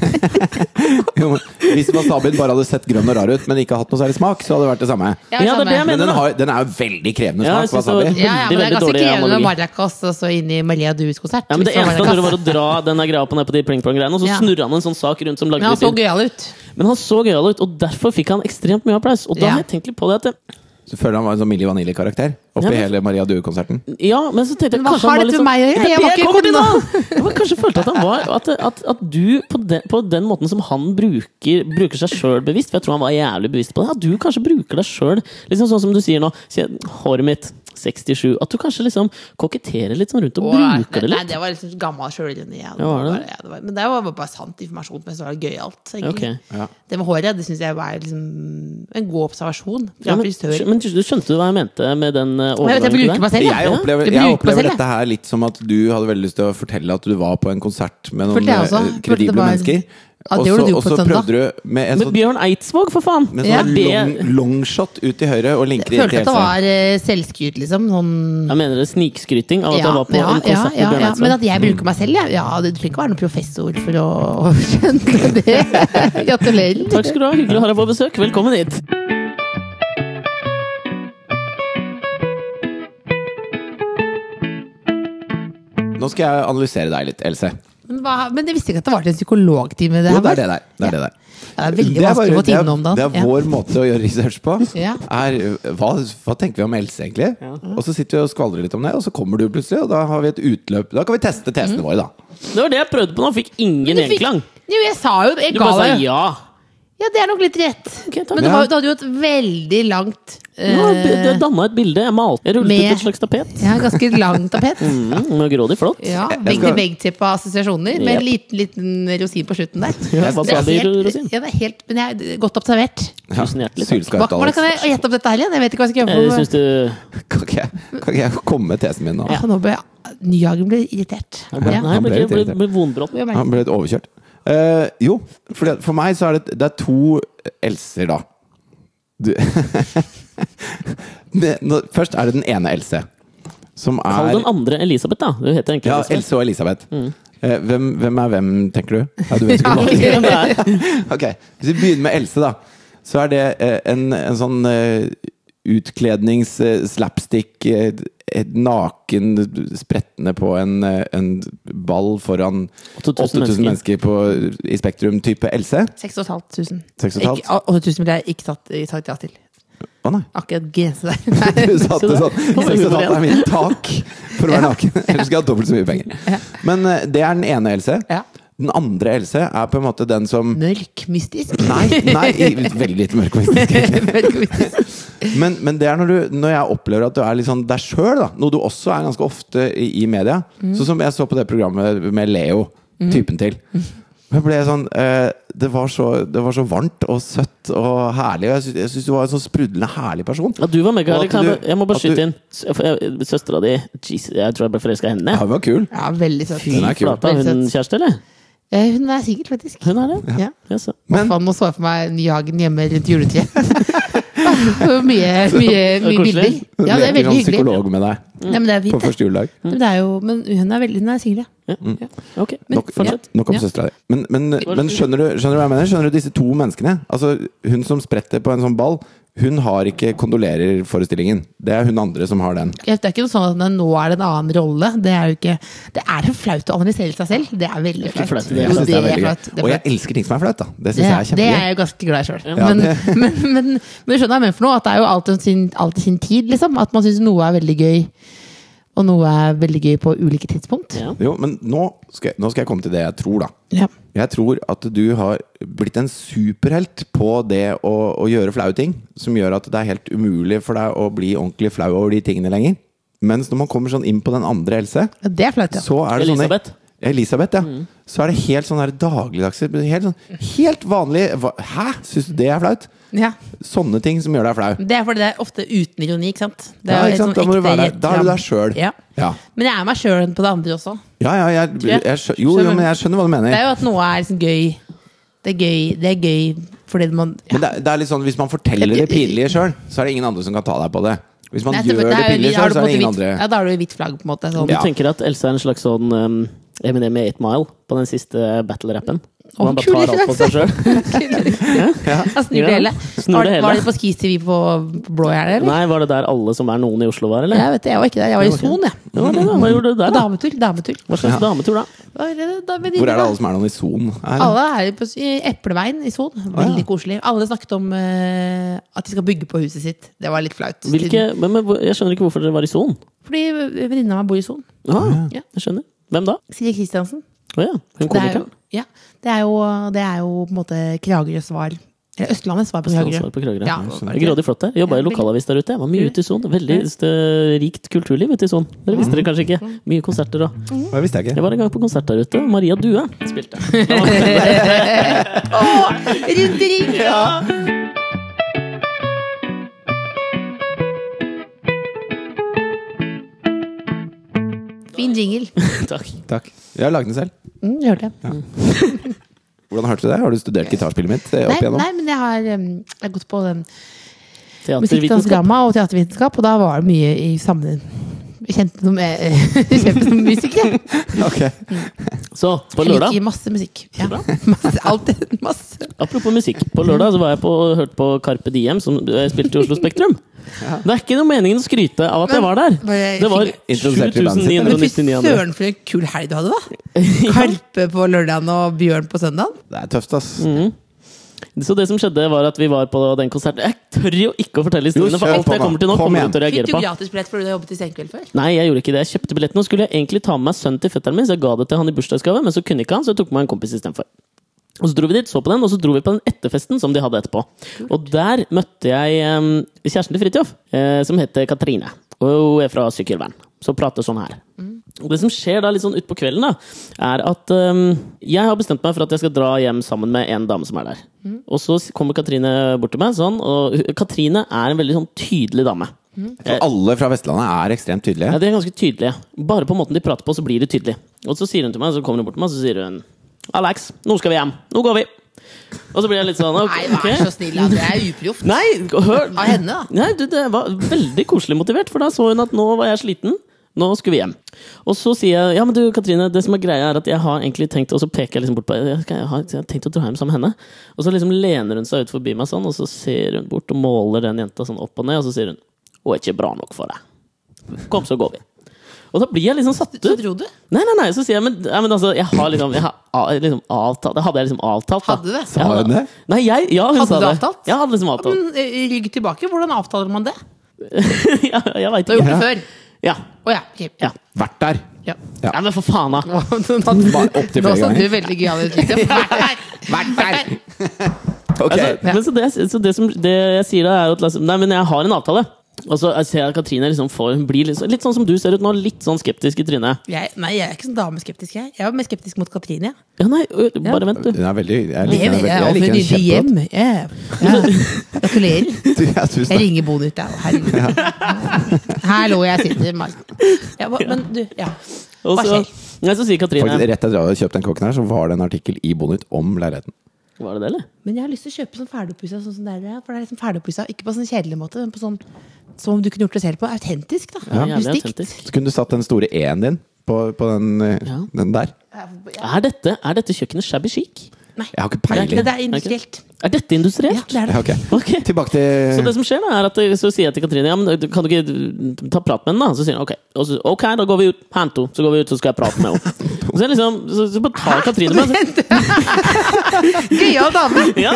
Jo, men Hvis wasabien bare hadde sett grønn og rar ut, men ikke hatt noe særlig smak, så hadde det vært det samme. Ja, det er det jeg samme. mener. Men den, har, den er jo veldig krevende Ja, jeg smak, synes det var- ja, ja, men wasabi. det er Veldig, veldig ganske dårlig krevende analogi. med Maracas og så inn i Maria Dues konsert. Ja, men det Hvis eneste han Maracas- gjorde, var å dra denne greia opp og ned på de pling-plong-greiene, og så Ja. snurra han en sånn sak rundt som lagde Men han litt så liv. gøyal ut. Men han så gøyal ut, og derfor fikk han ekstremt mye applaus. Og da Ja. har jeg tenkt litt på det at det, Så føler han var en sånn Milli Vanilli-karakter oppi Ja, men- hele Maria Due-konserten. Ja, men så tenkte jeg Men hva kanskje har han var dette litt med sånn- meg å gjøre? Det er Jeg var det ikke kommer til kona. nå! Jeg var kanskje følte at han var At, at, at du, på den, på den måten som han bruker, bruker seg sjøl bevisst For jeg tror han var jævlig bevisst på det. At du kanskje bruker deg sjøl liksom sånn som du sier nå. Sier, Håret mitt 67. At du kanskje liksom koketterer litt sånn rundt og bruker det Nei, litt. det var liksom gammel sjølironi. Ja, det Ja, var var det bare- ja, det var- Men det var bare sant informasjon. Men så var det gøyalt. egentlig. Ok. Ja. Det med håret det syns jeg var liksom en god observasjon fra Ja, men, frisøren. men skjønte du skjønte hva jeg mente med den eh, Jeg vet, jeg overgangen bruker til meg selv. deg? Jeg opplever, Jeg jeg bruker meg selv, opplever jeg. dette her litt som at du hadde veldig lyst til å fortelle at du var på en konsert med noen Følte jeg også. eh, Følte det kredible var- mennesker. Ja, det Og gjorde så- du jo og på så søndag. prøvde du med en Med sånn, Bjørn Eidsvåg, for faen! med Ja. sånn Det- long, longshot ut til høyre og linker inn Følte til at det Elsa. var eh, selvskryt, liksom. Sånn Jeg mener det snikskryting av at jeg var på en ja, konsert med ja, Bjørn ja. Eidsvåg. Men at jeg bruker meg selv, ja. ja du trenger ikke være noen professor for å [LAUGHS] å skjønne det. [LAUGHS] Gratulerer. Takk skal du ha. Hyggelig å ha deg på besøk. Velkommen hit. Nå skal jeg analysere deg litt, Else. Men, hva, men jeg visste ikke at det var til en psykologtime. Det, Jo, her, det er det var. der. Det er, det der. Ja, det er veldig bare- vanskelig å få det er- time om dagen. Det er Ja. vår måte å gjøre research på. [LAUGHS] Ja. Er, hva, hva tenker vi om Else, egentlig? Og så sitter vi og skvaldrer litt om det, og så kommer du plutselig, og da har vi et utløp. Da kan vi teste tesene Mm. våre, da. Det var det jeg prøvde på nå. Fikk ingen Men du fikk- gjenklang. Jo, jeg sa jo jeg Du ga bare sa deg. ja. Ja, det er nok litt rett. Ok, takk. men det Ja. var, du hadde jo et veldig langt eh, Nå, det det danna et bilde. Jeg malte. Jeg rullet Med- ut et slags tapet. Ja, ganske lang tapet. [LAUGHS] Mm, det var grådig flott. Ja, Jeg- jeg skal- Vegg-til-vegg-tippe assosiasjoner, med en liten, liten rosin på slutten der. Ja, hva Det sa er de, helt, Rosin? ja, det er helt men jeg, det er godt observert. Tusen hjertelig takk. Sylskarpt, Hva, hvordan Alex. kan jeg gjette opp dette her igjen? Jeg vet ikke hva jeg skal Jeg gjøre. syns For, Eh, du Kan ikke, jeg- kan ikke jeg komme med tesen min nå? ja. Nå ble jeg- Nyhagen ble irritert. Ja. Nei, jeg ble, ble jeg ble, irritert. ble vonbrotten. Jeg merker- Han ble litt overkjørt. Eh, jo, fordi at for meg så er det, det er to Elser, da. Du. [LAUGHS] Det- nå- Først er det den ene Else, som er Kall den andre Elisabeth, da. Du heter egentlig Ja, Elisabeth. Else og Elisabeth. Eh, hvem, hvem er hvem, tenker du? Ja, du vet ikke Ja, hva. Hvem det er. [LAUGHS] Ok, Hvis vi begynner med Else, da. Så er det eh, en, en sånn eh, utklednings eh, slapstick eh, et naken sprettende på en, eh, en ball foran 8000 8000 mennesker, på, eh, i Spektrum type Else. 6500. Seks og et halvt? Ikke- 8000 ble jeg ikke tatt, eh, sagt ja til. Å [LAUGHS] nei! Akkurat grense der. Nei. [LAUGHS] Du satte det. sånn Nå var vi Seks og et halvt igjen. er mitt tak for å være naken. [LAUGHS] Ellers skal jeg ha dobbelt så mye penger. Men eh, det er den ene Else. Ja. Den andre Else er på en måte den som Mørk, mystisk. Nei, nei i- veldig lite mørkvistisk. [LAUGHS] Mørk, mystisk. Men, men det er når, du, når jeg opplever at du er litt sånn deg sjøl, da. Noe du også er ganske ofte i, i media. Mm. Sånn som jeg så på det programmet med Leo, typen til. Mm. Jeg ble sånn, eh, det, var så, det var så varmt og søtt og herlig. Og jeg sy- jeg syns du var en sånn sprudlende herlig person. Ja, du var mega Og at ærlig. Kan jeg du- bare- Jeg må bare at du- skyte inn. Søstera di Jesus, Jeg tror jeg ble forelska i henne. Ja, hun var kul. Ja, veldig søt. Fy Den er kul. flata. Veldig Hun søt. kjæreste, eller? Eh, Hun er sikkert, faktisk. Hun er det? Ja. Jaså. Men, Men- Faen, nå så jeg for meg Nyhagen hjemme rundt juletreet. [LAUGHS] mye mye, det mye er koselig. bilder. Ja, det er veldig Hun leker sånn hyggelig. psykolog med deg Nei, men det er på fint. det. første juledag. Men, det er jo, men hun er veldig Hun er singel, ja. Ja. Mm. ja. Ok, Nok, fortsett. nok om Ja. søstera di. Men, men, var men litt- skjønner, du, skjønner du hva jeg mener? Skjønner du disse to menneskene? Altså Hun som spretter på en sånn ball, Hun har ikke kondolerer-forestillingen. Det er hun andre som har den. Det er ikke noe sånn at nå er det en annen rolle. Det er jo ikke Det er jo flaut å analysere seg selv. Det er veldig ikke flaut. flaut i det Jo, hele Jeg synes tatt. det er veldig gøy. flaut. Det er Og flaut. jeg elsker ting som er flaut, da. Det syns Ja, jeg er det kjempegøy. er jeg jo ganske glad i sjøl. men, [LAUGHS] men, men, men du skjønner hva jeg mener for noe? At det er jo alt til sin, alt til sin tid, liksom. At man syns noe er veldig gøy, og noe er veldig gøy på ulike tidspunkt. Ja. Jo, men nå skal, jeg, nå skal jeg komme til det jeg tror, da. Ja. Jeg tror at du har blitt en superhelt på det å, å gjøre flaue ting. Som gjør at det er helt umulig for deg å bli ordentlig flau over de tingene lenger. Mens når man kommer sånn inn på den andre Else, Ja, Det er flaut, ja. Mm. så er det Elisabeth. sånn Elisabeth, ja. Så er det helt sånn her dagligdagse Helt, sånn, helt vanlig hva- Hæ? Syns du det er flaut? ja. Sånne ting som gjør deg flau. Det er fordi det er ofte uten ironi, ikke sant? Det jo Ja, ikke helt sånn sant? Da må du ekte være der. Da er du rett deg sjøl. fram. Ja. Ja. Men jeg er meg sjøl på det andre også. Ja, ja, jeg, Tror jeg. jeg skjø- jo, jo, men jeg skjønner hva du Det er mener. jo at noe er liksom gøy. Det er gøy, det er gøy fordi man Men det, er- det er litt sånn, Hvis man forteller det pinlige sjøl, så er det ingen andre som kan ta deg på det. Hvis man Nei, gjør selvfølgelig, det er jo- pinlige da har sjøl, du så på er det en måte ingen hvitt- andre. Ja, da har du hvitt flagg, på en måte. Sånn. Du Ja. tenker at Else er en slags sånn um, Eminem i 8 Mile på den siste battle-rappen? Hvor Å, han bare kul altså. tar alt på seg sjøl? Han snur det Ja, hele. snur Var, det hele. var det på Skis TV på, på Blå her, eller? [LAUGHS] Nei, var det der alle som er noen i Oslo var, eller? Jeg vet det, jeg var ikke der. Jeg var i Son, jeg. Det var det, da. Hva gjorde du der, da? Dametur. dametur. Hva slags dametur, da? Hva er det eh, da med de- Hvor er det alle som er noen i Son? Er det- Alle er på, i Epleveien i Son. Veldig koselig. Alle snakket om eh, at de skal bygge på huset sitt. Det var litt flaut. Hvilke, men, men, jeg skjønner ikke hvorfor dere var i Son. Fordi venninna mi bor i Son. Ah, Ja. jeg skjønner. Hvem da? Silje Kristiansen. Å ja, hun Det er, jo, komikeren. ja, det, er jo, det er jo på en måte Kragerøs svar. Eller Østlandets svar på Østlandets Kragerø. svar på Kragerø. Ja, Ja, var Det det er ikke det? Grådig flott der. Jobba Ja, i lokalavis der ute. Jeg var mye ute i Son. Veldig eh, rikt kulturliv ute i Son. Dere visste det kanskje ikke. Mye konserter og Det visste jeg Jeg ikke. var en gang på konsert der ute. Maria Due spilte. Å, rundt i ring! Fin jingle. [LAUGHS] Takk. Takk. Jeg har laget den selv. Mm, hørte jeg. Hvordan hørte du det? Har du studert gitarspillet mitt eh, Nei, opp igjennom? nei, men jeg har, um, jeg har gått på um, Teatervitenskap. musikkdansgramma og teatervitenskap, og da var det mye i sammen... Kjente noe med eh, [LAUGHS] kjente noe med musikk, jeg. Ok. Så, på Jeg lørdag liker masse musikk. Ja. [LAUGHS] Masse, alt, [LAUGHS] masse. Apropos musikk. På lørdag så var jeg på, hørte på Carpe Diem, som eh, spilte i [LAUGHS] Oslo Spektrum. Det er ikke noe meningen å skryte av at jeg var der. Var jeg- Det var Introdusert i bandet sitt, eller? Men fy 7999 andre. søren for en kul helg du hadde, [LAUGHS] da! Karpe på lørdagen og Bjørn på søndagen. Det er tøft, ass. Mm. Mhm. Så det som skjedde, var at vi var på den konserten. Jeg tør jo ikke å fortelle historiene, Jo, for kjør alt på, jeg da. kommer til nå, Kom kommer igjen. du til å Fikk du reagere på. gratisbillett fordi du har jobbet i Senkveld før? Nei, jeg gjorde ikke det. Jeg kjøpte billetten og skulle egentlig ta med meg sønnen til fetteren min, så jeg ga det til han i bursdagsgave, men så kunne ikke han, så jeg tok med meg en kompis istedenfor. Og så dro vi dit, så på den, og så dro vi på den etterfesten som de hadde etterpå. Og der møtte jeg em, kjæresten til Fridtjof, eh, som heter Katrine. Og hun er fra sykkelvern. Så prater sånn her. Og det som skjer da litt sånn utpå kvelden, da, er at em, jeg har bestemt meg for at jeg skal dra hjem sammen med en dame som er der. Og så kommer Katrine bort til meg, sånn, og hun- Katrine er en veldig sånn tydelig dame. For alle fra Vestlandet er ekstremt Ja, tydelige. de er ganske tydelige. Bare på måten de prater på, så blir det tydelig. Og så sier hun til meg, så kommer hun bort til meg, så sier hun Alex, nå skal vi hjem. Nå går vi. Og så blir jeg litt sånn ok, Nei, vær ok. så snill, da. det er [LAUGHS] uproft. Nei, hør Av henne, da. Nei, du, det var veldig koselig motivert, for da så hun at nå var jeg sliten. Nå skulle vi hjem. Og så sier jeg ja, men du Katrine, det som er greia er at jeg har egentlig tenkt Og så peker jeg liksom bort på jeg, skal- jeg, har, jeg har tenkt å dra hjem sammen med henne. Og så liksom lener hun seg ut forbi meg sånn, og så ser hun bort og måler den jenta sånn opp og ned, og så sier hun Hun er ikke bra nok for deg. Kom, så går vi. Og da blir jeg liksom satt ut. Så dro du? Nei, nei, nei, så sier jeg Men, nei, men altså, jeg har liksom, jeg har, a- liksom avtalt Det hadde jeg liksom avtalt da. Hadde du det? Jeg hadde- Sa hun det? Nei, jeg, ja, hun Hadde sa du det avtalt? Jeg hadde liksom avtalt Men eh, rygg tilbake, hvordan avtaler man det? [LAUGHS] ja, Jeg vet Du har ikke gjort det Ja. før. ja. Å ja. ok. Ja. Vært der! ja. Ja. Nei, men for faen da Nå satt Opp til nå flere satt du ganger. veldig gøyal [LAUGHS] ut. Liksom. Vært der! Vært der! [LAUGHS] Ok. altså, Men så det, jeg- så det, som, det jeg sier da er at liksom, Nei, men jeg har en avtale Og så jeg ser jeg at Katrine liksom får Hun blir litt, så- litt sånn som du ser ut nå Litt sånn skeptisk i trynet Jeg, nei, jeg er ikke sånn dameskeptisk, jeg. Jeg var mer skeptisk mot Katrine. jeg. Ja, nei, ø, bare vent du Hun er veldig Jeg Det liker vil jeg. henne veldig- jeg Og hun liker henne rydder hjem. kjempegodt. [LAUGHS] Ja. [LAUGHS] Ja. Gratulerer. Ja, tusen Jeg takk. ringer Bonut, jeg. Herregud. Her lå jeg sitter i marken. Ja, hva- men du, ja. Og Hva så, skjer? nei, så sier Faktisk, Katrine rett etter at jeg hadde kjøpt den kokken her, så var det en artikkel i Bonnet om leiligheten. Var det det, eller? Men jeg har lyst til å kjøpe sånn ferdigoppussa sånn som det er. For det er liksom ferdigoppussa, ikke på sånn kjedelig måte, men på sånn som om du kunne gjort det selv på. Autentisk, da. Ja, jævlig Rustikt. autentisk. Så kunne du satt den store E-en din på, på den, eh, Ja. den der. Ja. Er dette, er dette kjøkkenet shabby chic? Nei. Jeg har ikke peiling. Det, det er industrielt. Er dette Ja, industrielt? det er det. Ja, ok. Ok. Tilbake Så det til som skjer da, er at så sier jeg til Katrine Ja, men du- kan du ikke ta prat med henne da? Så sier hun ok Og så, Ok, da går vi ut Panto Så går vi ut Så skal jeg prate med [LAUGHS] henne Og så, er det liksom, så, så bare tar Katrine meg så- Gøyal dame! [LAUGHS] Ja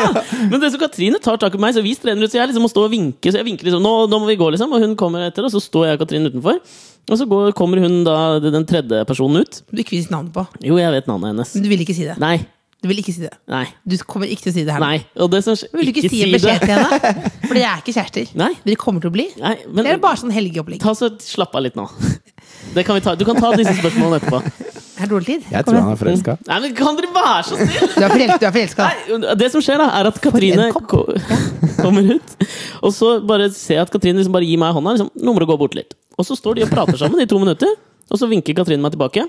Men det som Katrine tar tak i meg Så vi strener ut Så jeg liksom må stå og vinke Så jeg vinker liksom Nå, nå må vi gå liksom Og hun kommer etter Og så står jeg og Katrine utenfor Og så går, kommer hun da Den tredje personen ut Du ikke vil si navnet på. Jo, jeg vet navnet hennes Men du vil ikke si det. Nei Du vil ikke si det. Nei Du kommer ikke til å si det her. nå. Nei Og det som skjer Vil du ikke, si en det. beskjed til henne? For dere er ikke kjærester. Nei. Dere kommer til å bli. Nei men, Det er bare sånn helgeopplegg. Ta så slapp av litt nå [LAUGHS] Det kan vi ta Du kan ta disse spørsmålene etterpå Er det dårlig tid? Jeg Kom tror igjen. han er forelska. Nei, men kan dere være så snill? Du er forelska, du er forelska. Nei, det som skjer da, er at Katrine en ko [LAUGHS] kommer ut, og så bare ser jeg at Katrine liksom bare gir meg hånda. Liksom, nå må du gå bort litt. Og så står de og prater sammen i to minutter, og så vinker Katrine meg tilbake.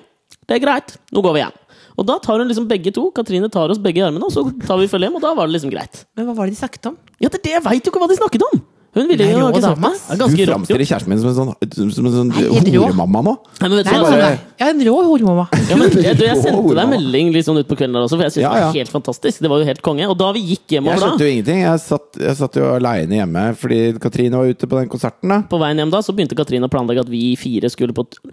Det er greit, nå går vi hjem. Og da tar hun liksom begge to. Katrine tar oss begge i armene, og så tar vi følge hjem, og da var det liksom greit. Men hva var det de snakket om? Ja, det, er det jeg veit jo ikke hva de snakket om! Hun ville Nei, jo rå ikke sagt dame, det. ass. Det er Du Ganske rått. jo. framstiller kjæresten min som en sånn, som en sånn Nei, helt rå. horemamma nå. Nei, men vet du Nei, hva? sånn bare- der. Ja, en rå horemamma. Ja, men jeg, jeg, jeg Rå sendte deg en horemamma. melding litt sånn utpå kvelden der også, for jeg syntes Ja, det ja. var helt fantastisk. Det var jo helt konge. Og da vi gikk Jeg hjemover da skjønte jo ingenting. Jeg satt, jeg satt jo aleine hjemme fordi Katrine var ute på den konserten. da På veien hjem da, så begynte Katrine å planlegge at vi fire skulle på t-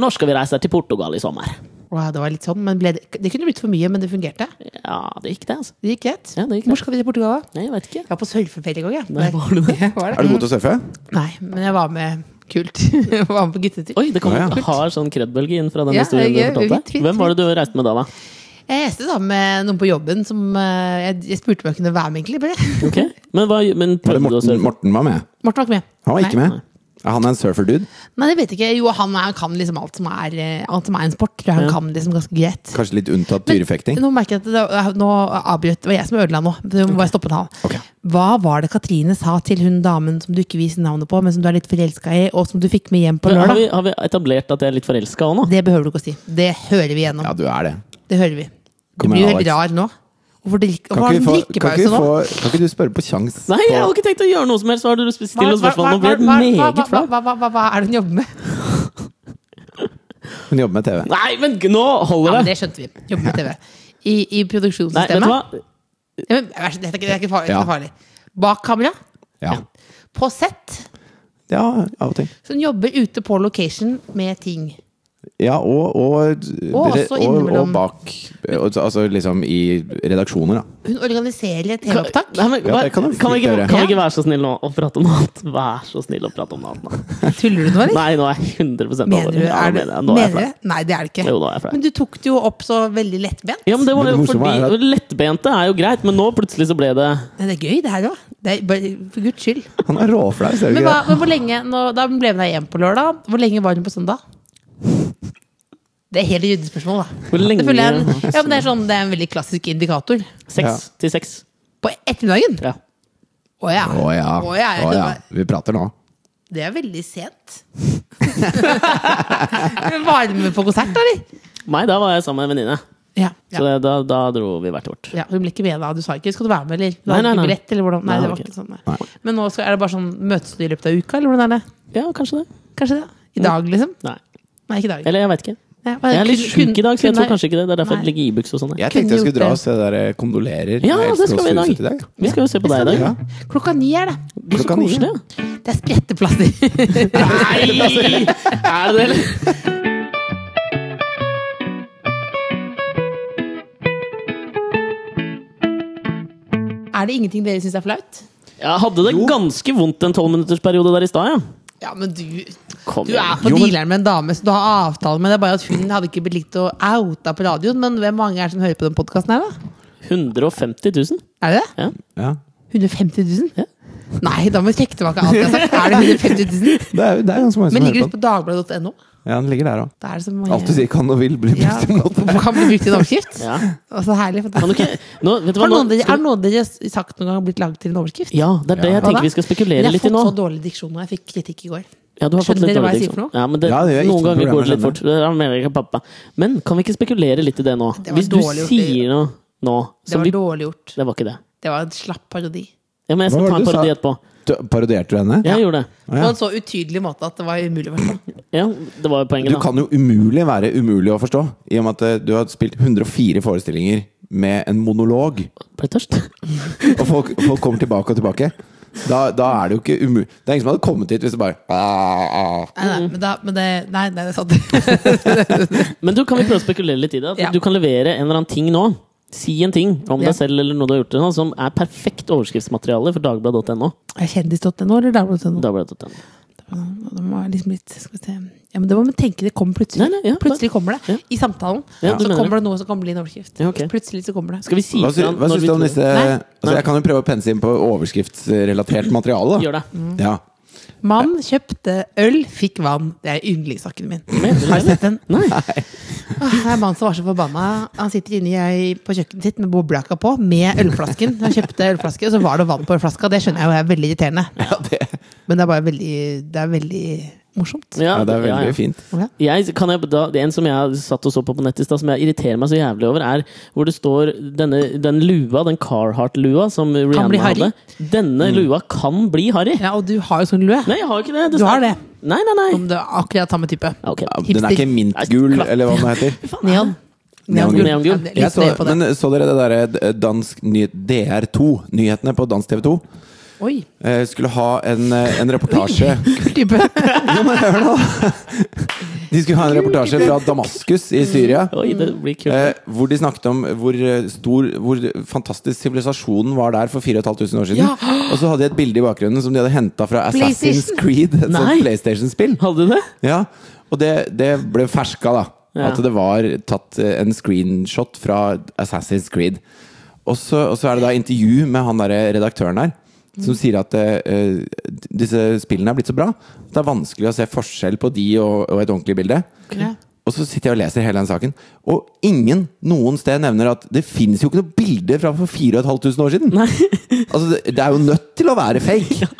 Når skal vi reise til Portugal i sommer? Wow, det var litt sånn, men ble det, det kunne blitt for mye, men det fungerte. Ja, det gikk det, altså. Det gikk greit. Ja, det gikk greit. Hvor skal vi til Portugal? da? Nei, jeg vet ikke. Jeg var på surfeferie i går, jeg. Nei, var du det? Jeg var Er du Mm. god til å surfe? Nei, men jeg var med kult. [LAUGHS] Jeg var med på guttetur. Oi, det kom Å, ja. en hard sånn kredbølge inn fra den Ja, historien jeg- du vitt, fortalte. vitt, Hvem var det du reiste med da, da? Jeg reiste sammen med noen på jobben som eh, jeg, jeg spurte om jeg kunne være med, egentlig. Bare. Ok, Men, hva, men Var det prøvde du å Morten, surfe? Morten var med? Morten var ikke med. Han var ikke Nei. med. Er han en surfer-dude? Nei, det vet jeg ikke. Jo, han, er, han kan liksom alt som er, eh, alt som er en sport. Tror jeg han kan liksom ganske greit. Kanskje litt unntatt dyrefekting? Nå merker jeg at det, nå avbrøt Det var jeg som ødela nå. Det må jeg stoppe en halv. Hm? Ok. Hva var det Katrine sa til hun damen som du ikke viser navnet på, men som du er litt forelska i, og som du fikk med hjem på Har lørdag? vi, har vi etablert at jeg er litt forelska òg nå? Det behøver du ikke å si. Det hører vi gjennom. Ja, du er det. Det hører vi. Du Kom blir jo igjen, helt rar Alex. nå. Hvorfor drikker Kan hvorfor har ikke, vi du få, kan, ikke drikkepause vi nå? få, kan ikke du spørre på kjangs? Nei, jeg har ikke tenkt å gjøre noe som helst! Så har du stilt oss spørsmål og blitt meget flau. hva, hva, hva, hva er det hun jobber med? Hun jobber med TV. Nei, men g- nå Ja, holder men det! det skjønte vi. Jobber med TV. I, i Nei, vet du produksjonssystemet. hva? Ja, men, vær så- dette er ikke, det er ikke farlig. Ja. Dette er farlig. Bak kamera. Ja. På sett. ja, av og til. Så hun jobber ute på location med ting. Ja, og, Og og, dere- også og, og innimellom. bak Altså liksom i redaksjoner, da. Hun organiserer et Kan, TV-opptak. nei, men, Ja, bare- det kan kan, du vi fint ikke, gjøre. kan vi ikke Ja. være så snill nå og prate om noe annet? Vær så snill og prate om noe annet. nå. Tuller du nå, eller? Nei, nå er jeg 100 Mener over. du, Ja, er du, nå mener jeg- nå er jeg mener flau. du? Nei, det er det ikke. Jo, da er jeg flau. Men du tok det jo opp så veldig lettbent. Ja, men det var Men det jo morsomme fordi er at- Lettbente er jo greit, men nå plutselig så ble det Nei, Det er gøy, det her òg. For guds skyld. Han er råflau, ser du Men, ikke hva, det? men hvor lenge nå, Da ble hun med deg hjem på lørdag. Hvor lenge var hun på søndag? Det er helt ryddespørsmål, da. Hvor Det, lenge? føler jeg er en, ja, men det, er sånn, det er en veldig klassisk indikator. Seks Ja. til seks. På ettermiddagen? Ja. Å ja. Å ja. Å ja, jeg Å ja. skjønner. Vi prater nå. Det er veldig sent. [LAUGHS] Men Var du med på konsert, da, eller? Nei, da var jeg sammen med en venninne. Ja. Så ja. det, da, da dro vi hvert vårt. ja. Hun ble ikke med da. Du sa ikke 'skal du være med', eller? Du Nei, hadde nei, ikke nei. billett, eller hvordan? Nei, Nei, det var ok. ikke sånn. Nei. Nei. Men nå skal, er det bare sånn møtes du i løpet av uka, eller hvordan er det? Ja, kanskje det. Kanskje det? I dag, liksom? Nei. Nei, ikke i dag. Mm. Eller jeg veit ikke. Nei, men Jeg er litt kunne- sjuk i dag, så jeg kunne- tror kanskje ikke det. Det er derfor Nei. jeg ligger i buks og sånn. jeg. Jeg tenkte jeg gjort skulle dra det. og se der eh, kondolerer. Ja, med det skal vi i dag. Elskens Huset Vi skal jo se på deg i dag. Ja. [LAUGHS] Klokka ni er det. Du er så Klokka ni, koselig. [LAUGHS] ja. ja. Det er spretteplasser. [LAUGHS] Nei! Er det det? er det ingenting dere syns er flaut? Jeg hadde det ganske vondt en tolvminuttersperiode der i stad, ja. Ja, men du Kom Du er igjen. på Jo, men- dealeren med en dame, så du har avtale med det. er Bare at hun hadde ikke blitt likt å outa på radioen. Men hvem mange er det som hører på den podkasten her, da? 150 000. Er det det? Ja. Ja. 150 000? Nei, da må vi trekke tilbake alt jeg har sagt. Er det 150 000? Det er, det er ganske mange som Men ligger det hører på den. på dagbladet.no? Ja, den ligger der òg. Da er det så mange Alt du sier kan og vil, blir Ja, brukt imot. kan bli brukt i en overskrift. [LAUGHS] Ja. Og så herlig. for det- Kan du ikke nå, vet du Har hva, noen, av nå, dere, har noen av dere sagt noen gang blitt laget til en overskrift? Ja, det er det jeg Hva da? tenker vi skal Men spekulere jeg litt i har nå. fått så dårlig diksjon, og jeg fikk kritikk i går. Ja, du har fått Skjønner litt dere hva dårlig jeg diksjon. sier for noe? Ja, men det, Ja, det gjør ikke noen noe ganger problem, går det litt jeg fort. Det er mer ikke pappa. Men kan vi ikke spekulere litt i det nå? Det var Hvis du dårlig gjort, det. sier noe nå Det som var vi dårlig gjort. Det var ikke det. Det var en slapp parodi. Ja, men jeg Hva skal var ta en det du parodi sa? etterpå. Du- Parodierte du henne? Jeg gjorde det. På en så utydelig måte at det var umulig å forstå. Ja, det var jo Du poenget, da. kan jo umulig være umulig å forstå, i og med at eh, du har spilt 104 forestillinger med en monolog, Ble tørst? og folk, folk kommer tilbake og tilbake, da, da er det jo ikke umulig Det er ingen som hadde kommet hit hvis det bare ah, ah. Nei, nei, Mm. men da, men det, nei, nei, det er sant. [LAUGHS] Men du, kan vi prøve å spekulere litt i det? At Ja. Du kan levere en eller annen ting nå. Si en ting om Ja. deg selv eller noe du har gjort, eller noe, som er perfekt overskriftsmateriale for dagbladet.no. Er Kjendis.no eller Dagbladet.no? Dagbladet.no. Det må jeg liksom litt skal vi se. Ja, men det må man tenke, det kommer plutselig. Nei, nei, ja, plutselig kommer det. Ja. I samtalen. Ja, du så mener kommer det noe som kommer til å bli en overskrift. Ja, ok. Plutselig så kommer det. Skal vi si Hva, sy, ifra hva når syns vi du om tror- disse Nei. altså, Jeg kan jo prøve å pense inn på overskriftsrelatert materiale. Da. Gjør det. Ja. Mann kjøpte øl, fikk vann. Det er yndlingssaken min. Mener du Har du det? sett den? Nei. Det er en mann som var så forbanna. Han sitter inni ei- på kjøkkenet sitt med bobljakka på, med ølflasken. Han kjøpte ølflaske, og så var det vann på ølflaska. Det skjønner jeg jo er veldig irriterende. Ja, det, Men det er bare veldig, det er veldig morsomt. [LAUGHS] ja, det er veldig fint. Ja. Jeg, kan jeg, da, det er en som jeg satt og så på på nett i stad, som jeg irriterer meg så jævlig over, er hvor det står denne, den lua, den Carhartt-lua som bli Rihanna harry. Mm. hadde. Denne lua kan bli harry! ja, og du har jo sånn lue. Nei, jeg har jo ikke det. Du har står- det. Mm. Nei, nei, nei. Om det er akkurat samme type. Ja, ok. Ja, Den er ikke mintgul, eller hva den heter. Neon. Neongul. Neongul. Ja, Jeg Litt så, ned på det. men eh, så dere det derre d- dansk ny, DR2, nyhetene på dansk TV 2? Oi. Eh, skulle ha en, eh, en [LAUGHS] reportasje Kul type. Jo, men hør nå! De skulle ha en reportasje fra Damaskus i Syria. Oi, det blir Mm. kult. Eh, hvor de snakket om hvor eh, stor Hvor fantastisk sivilisasjonen var der for 4500 år siden. Ja. Og så hadde de et bilde i bakgrunnen som de hadde henta fra Assassin's PlayStation. Creed. Et Nei. sånt PlayStation-spill. Hadde du det? Ja, og det, det ble ferska da Ja. At det var tatt eh, en screenshot fra Assassin's Creed Og så, og så er det da intervju med han der redaktøren her Mm. Som sier at eh, eh, disse spillene er blitt så bra At det er vanskelig å se forskjell på de og, og et ordentlig bilde Ja. Og så sitter jeg og leser hele den saken Og ingen noen sted nevner at Det finnes jo ikke noe bilde fra for 4500 år siden Nei. Altså det, det er jo nødt til å være [LAUGHS] fake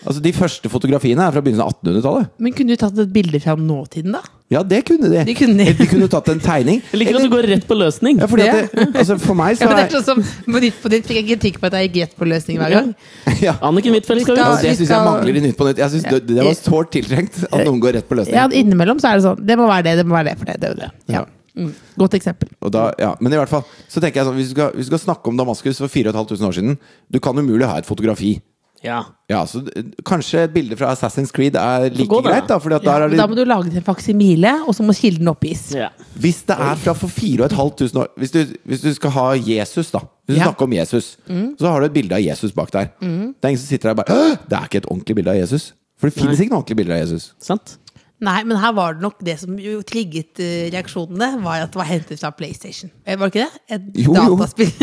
Altså de første fotografiene er fra begynnelsen av 1800-tallet Men kunne du tatt et bilde fra nåtiden, da? ja, det kunne de. Det kunne de. Eller de kunne tatt en tegning. Jeg liker at du går rett på løsning. Ja, fordi at det, altså for meg [LAUGHS] så Ja, men det er er sånn som På nytt på nytt fikk jeg kritikk på at jeg gikk rett på løsning hver gang. [LAUGHS] ja. Anniken Huitfeldt skal Ja, altså, ut. Det vi syns jeg skal- mangler i Nytt på Nytt. Jeg synes det, det var sårt tiltrengt at noen går rett på Ja, løsning. Innimellom så er det sånn. Det må være det, det må være det. for det, det, er jo det. Ja. Ja. Mm. Godt eksempel. Og da, ja. Men i hvert fall, så tenker jeg sånn, hvis du skal, hvis du skal snakke om Damaskus for 4500 år siden, du kan umulig ha et fotografi. Ja. Ja, så d- Kanskje et bilde fra Assassin's Creed er like gå da. greit, da. Fordi at der Ja, er men da må det, du lage en faksimile, og så må kilden oppgis. ja. hvis det er fra for 4500 år hvis du, hvis du skal ha Jesus, da. Hvis du Ja. snakker om Jesus, Mm. så har du et bilde av Jesus bak der. Det er ingen som sitter der og bare «Åh, Det er ikke et ordentlig bilde av Jesus. For det finnes ikke noe ordentlig bilde av [LAUGHS] Jesus. Sant? Nei, men her var det nok det som jo trigget eh, reaksjonene, var at det var hentet fra PlayStation. Eh, Var det ikke det? Et Jo, jo. dataspill.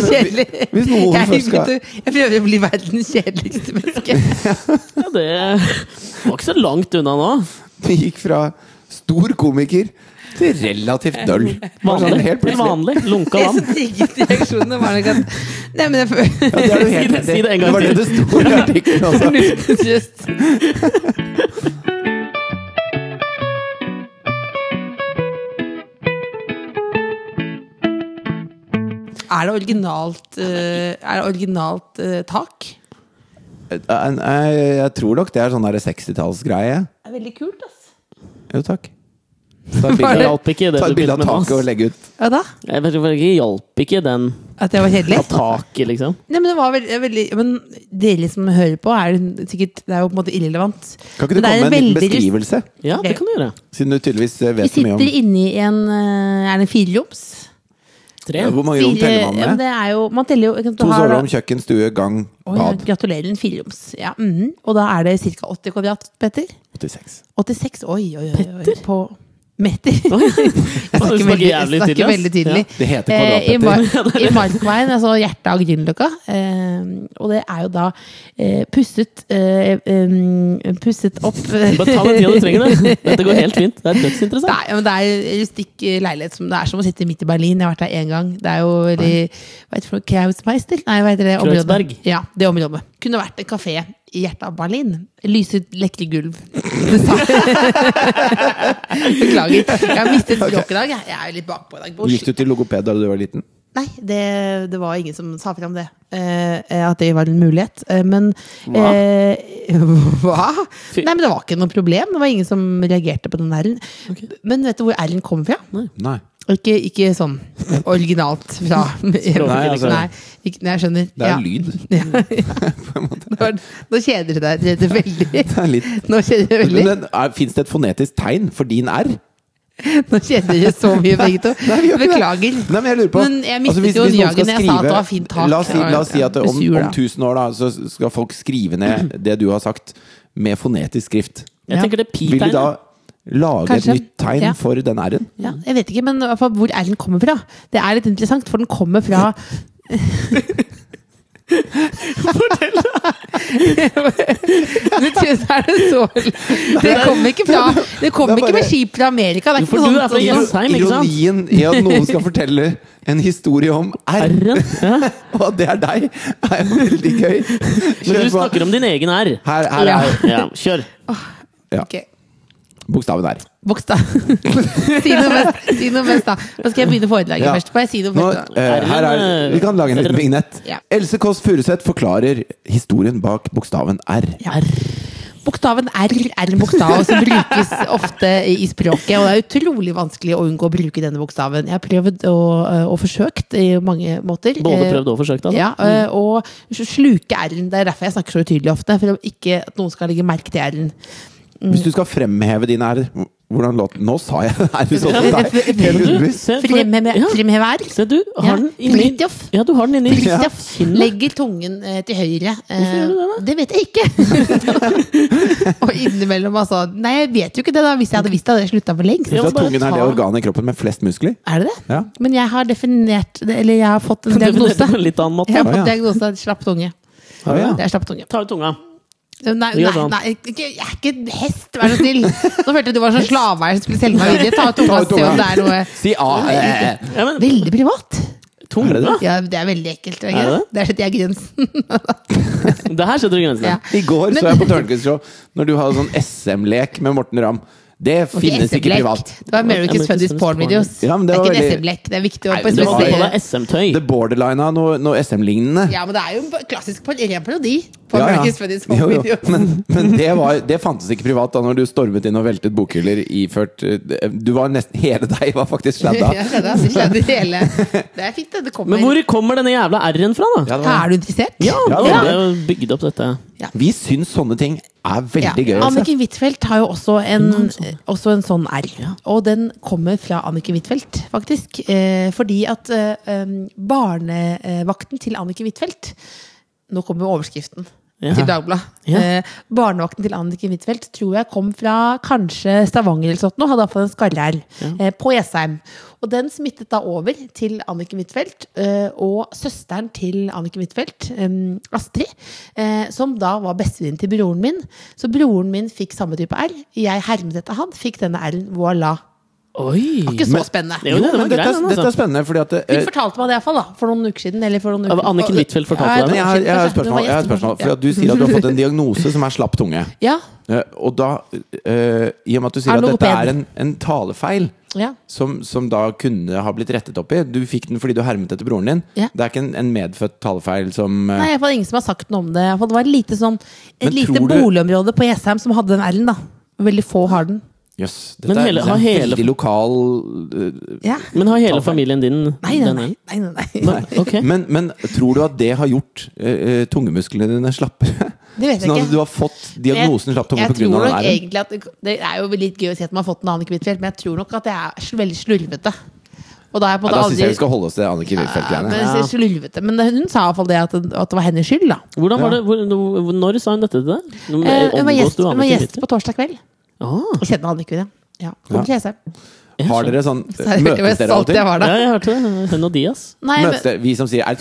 så kjedelig. hvis noen jeg, først skal- jeg prøver å bli verdens kjedeligste menneske. Ja, det [LAUGHS] var ikke så langt unna nå. Det [LAUGHS] gikk fra stor komiker til relativt døll. Bare sånn [LAUGHS] Vanlig. helt Helt plutselig. vanlig. Lunka Det [LAUGHS] vann. som trigget reaksjonene, var nok at Nei, men jeg Ja, føler det er du Si helt det- rett i. si det en gang var det det sto [LAUGHS] i artikkelen også. Just. Er det originalt, eh, er det originalt eh, tak? Jeg, jeg, eh, jeg tror nok det er sånn der 60-tallsgreie. Det er veldig kult, ass. Jo, takk. Ta et Det bilde av, hjalp ikke, det ta du et bilde begynte av med nå. taket og legge ut. Ja da? Jeg vet ikke, det hjalp ikke den At jeg var kjedelig? av taket, liksom. Nei, men det var veldig, veldig Men dere som hører på, er det sikkert Det er jo på en måte irrelevant. Kan ikke du Men det er komme med en liten veldig- beskrivelse? Ja, det kan du gjøre. Siden du tydeligvis eh, Vi vet så mye om sitter inne i en eh, Er det en fireroms? Tre. Ja, [LAUGHS] Hvor mange rom Fire- teller ja, man men med? det er jo, man teller jo ikke sant, du To har da- soverom, kjøkken, stue, gang, Oi, ja, bad. gratulerer, en fireroms. Ja, mhm. Og da er det ca. 80 kvadrat, Petter. 86. 86, oi, oi, oi. Petter? På meter. jeg snakker snakker veldig, jeg jævlig snakker tydelig, ass. veldig tydelig. Det heter Eh, I, kvadratmeter. Mar I Markveien, altså hjertet av Grünerløkka. Eh, og det er jo da eh, pusset eh, em, Pusset opp eh, Bare ta [LAUGHS] den tida du trenger det. Dette går helt fint. Det er dødsinteressant. Nei, men det er rustikk eh, leilighet. Som det er som å sitte midt i Berlin. Jeg har vært der én gang. Det er jo veldig Hva heter det? for noe? Krausmeister? Nei, hva heter det området? Kreuzberg. Ja, det området. Kunne vært en kafé i hjertet av Berlin. Lyset, lekre gulv. [LAUGHS] Beklager. Jeg har mistet språket i dag. jeg. Jeg er jo litt bakpå i dag. Bosch. Gikk du til logoped da du var liten? Nei, det, det var ingen som sa fram det. Eh, at det var en mulighet. Eh, men Hva? Eh, [LAUGHS] hva? Fy- Nei, men det var ikke noe problem. Det var ingen som reagerte på den r-en. Men vet du hvor r-en kom fra? Nei. Ikke, ikke sånn originalt [LAUGHS] fra Nei, altså. Nei, ikke, nei, jeg skjønner. Det er lyd. [LAUGHS] [LAUGHS] Nå, nå kjeder du deg Therese, veldig. Det er litt Nå kjeder du deg [LAUGHS] veldig. Fins det et fonetisk tegn for din R? Nå kjeder dere så mye, begge to. Nei, vi gjør ikke det. Beklager. Nei, men jeg lurer på Altså, Men jeg mistet hvis- jo hvis noen skal jagen jeg sa at det skrive- var fint tak. La oss si, la oss si at om, Hvis jul, da. Mm. om 1000 år da, så skal folk skrive ned det du har sagt, med fonetisk skrift. Jeg Ja. tenker det Vil de da pi-tegnet. lage Kanskje. et nytt tegn Ja. for den R-en? Ja, Mm. jeg vet ikke, men i hvert fall hvor R-en kommer fra. Det er litt interessant, for den kommer fra [LAUGHS] [LAUGHS] Fortell, da! er det så Det kommer ikke fra Det Det kommer er ikke med bare- skip fra Amerika. Det er Jo, ikke for noe du sånt- er fra Jessheim, ikke sant? Ironien i at noen skal fortelle en historie om R, R-en. Ja. [LAUGHS] og at det er deg, er jo veldig gøy. Men Kjør du på. snakker om din egen R. her, her Ja. er Ja, kjør. Ok, bokstaven R. Voks, da. [LAUGHS] si, noe mest, si noe mest, da. Nå skal jeg begynne foredraget Ja. først. Bare si noe Nå, først. da. eh, her er, vi kan lage en liten vignett. Ja. Else Kåss Furuseth forklarer historien bak bokstaven R. Ja. Bokstaven R er en bokstav som brukes ofte i språket, og det er utrolig vanskelig å unngå å bruke denne bokstaven. Jeg har prøvd og, og forsøkt i mange måter. Eh, Både prøvd og forsøkt. Altså. Ja, eh, og sluke R-en. Det er derfor jeg snakker så utydelig ofte, for om ikke at noen skal legge merke til R-en. Mm. Hvis du skal fremheve din R, hvordan låt Nå sa jeg [LAUGHS] R sånn som deg. Fremheve- Helt Du, ubevisst. se, for- Fremheve ja, fremheve R. se, du har Ja, den inni Fridtjof. Ja, du har den inni Fridtjof kinnet. legger tungen eh, til høyre. Eh, Hvorfor gjør du det, da? det vet jeg ikke! [LAUGHS] og innimellom, altså. Nei, jeg vet jo ikke det, da. Hvis jeg hadde visst det, hadde jeg slutta for lengst. Så Ja, at bare tungen er ta- det organet i kroppen med flest muskler? Er det det? Ja. Men jeg har definert [LAUGHS] det, Eller jeg har fått en [LAUGHS] Du definerte diagnose. på en litt annen måte. Jeg har fått Ja, ja. diagnose av slapp tunge. Ja, ja. Det er slapp tunge. Ta ut tunga. Nei, nei, Gjør sånn. nei ikke, jeg er ikke en hest, vær så snill! Nå følte jeg du var sånn slaveeier som skulle selge meg videre. Ta ut tunga Ta og ut se om det er noe Si A. eh, Ja, men, Veldig privat. tunga? Er det Det, Ja, det er veldig ekkelt. Er Er det? det Der setter jeg grensen. her setter du grensen. Ja. I går så Men- jeg på Tørnquist Show når du hadde sånn SM-lek med Morten Ramm. Det finnes ikke SM-lek. privat. Det var America's America's Funniest Funniest Porn-videos. Porn. Ja, men det det er var ikke en veldig- SM-lek. Det er viktig å Nei, men Du har på spesifisere. deg SM-tøy. Det borderlina noe, noe SM-lignende. Ja, men det er jo en klassisk par- ren parodi på Ja, ja. America's Funniest Jo, jo. Porn-videos. Men, men det, var, det fantes ikke privat da når du stormet inn og veltet bokhyller iført eh, Du var nesten Hele deg var faktisk [LAUGHS] sladda. Jeg skjønner, altså, jeg skjønner hele. Det er fint, det. Det kommer. Men hvor kommer denne jævla R-en fra, da? Ja, det var- Er du interessert? Ja, Ja, det ja. er jo bygd opp dette. Vi syns sånne ting er veldig gøy. altså. Ja. Else. Anniken Huitfeldt har jo også en, eh, også en sånn R. Og den kommer fra Anniken Huitfeldt, faktisk. Eh, fordi at eh, em, barnevakten til Anniken Huitfeldt Nå kommer jo overskriften Ja. til Dagbladet. Ja. Eh, barnevakten til Anniken Huitfeldt tror jeg kom fra kanskje Stavanger eller sånt, nå hadde iallfall en skarre her, eh, på Jessheim. Og den smittet da over til Anniken Huitfeldt eh, og søsteren til Anniken Huitfeldt, em, Astrid, eh, som da var bestevenninnen til broren min. Så broren min fikk samme type R. Jeg hermet etter han, fikk denne R-en. Voilà. Oi! Ikke så Men- spennende. Jo, Jo, det var men dette, greit, den, er- altså. dette er spennende, fordi at eh, Hun fortalte meg det iallfall, da. For noen uker siden. Eller for noen Ja, uker. Anniken Huitfeldt fortalte Ja, deg et det? men år jeg har, siden, jeg har et kanskje. Hun var spørsmål. Jeg har et gjest, spørsmål kanskje. for at du sier at du har fått en diagnose som er slapp tunge. Ja. Eh, Og da, eh, i og med at du sier Er at dette logoped. er en, en talefeil ja. som, som da kunne ha blitt rettet opp i Du fikk den fordi du hermet etter broren din. Ja. Det er ikke en, en medfødt talefeil som eh, Nei, jeg får ingen som har sagt noe om det. Jeg får- Det var et lite, sånn, et Men lite tror du- boligområde på Jessheim som hadde den R-en, da. Veldig få har den. Jøss, dette Men er, hele- det er har hele- veldig lokal eh, Ja. Men har hele familien din Nei, nei, den nei. R-en? nei, nei, nei. Nei, [LAUGHS] Ok. men, men tror du at det har gjort eh, eh, tungemusklene dine slappere? Det vet jeg Sånn ikke. at du har fått diagnosen slapp tunge jeg pga. tror den nok r egentlig at Det er jo litt gøy å si at man har fått en Anniken Huitfeldt, men jeg tror nok at jeg er sl- veldig slurvete. Og da har jeg på en Ja, da måte syns jeg vi aldri skal holde oss til Anniken ja, Huitfeldt-greiene. men, jeg sier slurvete. men hun sa iallfall det at, at det var hennes skyld, da. Hvordan var Ja. det? Hvor, no- når sa hun dette til deg? Nå Eh, Hun var omgås gjest, du hun var Anniken gjest Huitfeldt. på torsdag kveld. Ah, Jeg kjenner Anniken, ja. ja. Kom til Jessheim. jeg Har dere sånn Så jeg vet jo hvor Møtes dere av og stolt jeg til? var skjønner. da. Ja, jeg hørte det. Hun og Diaz. Nei, men, Møtes dere, vi som sier R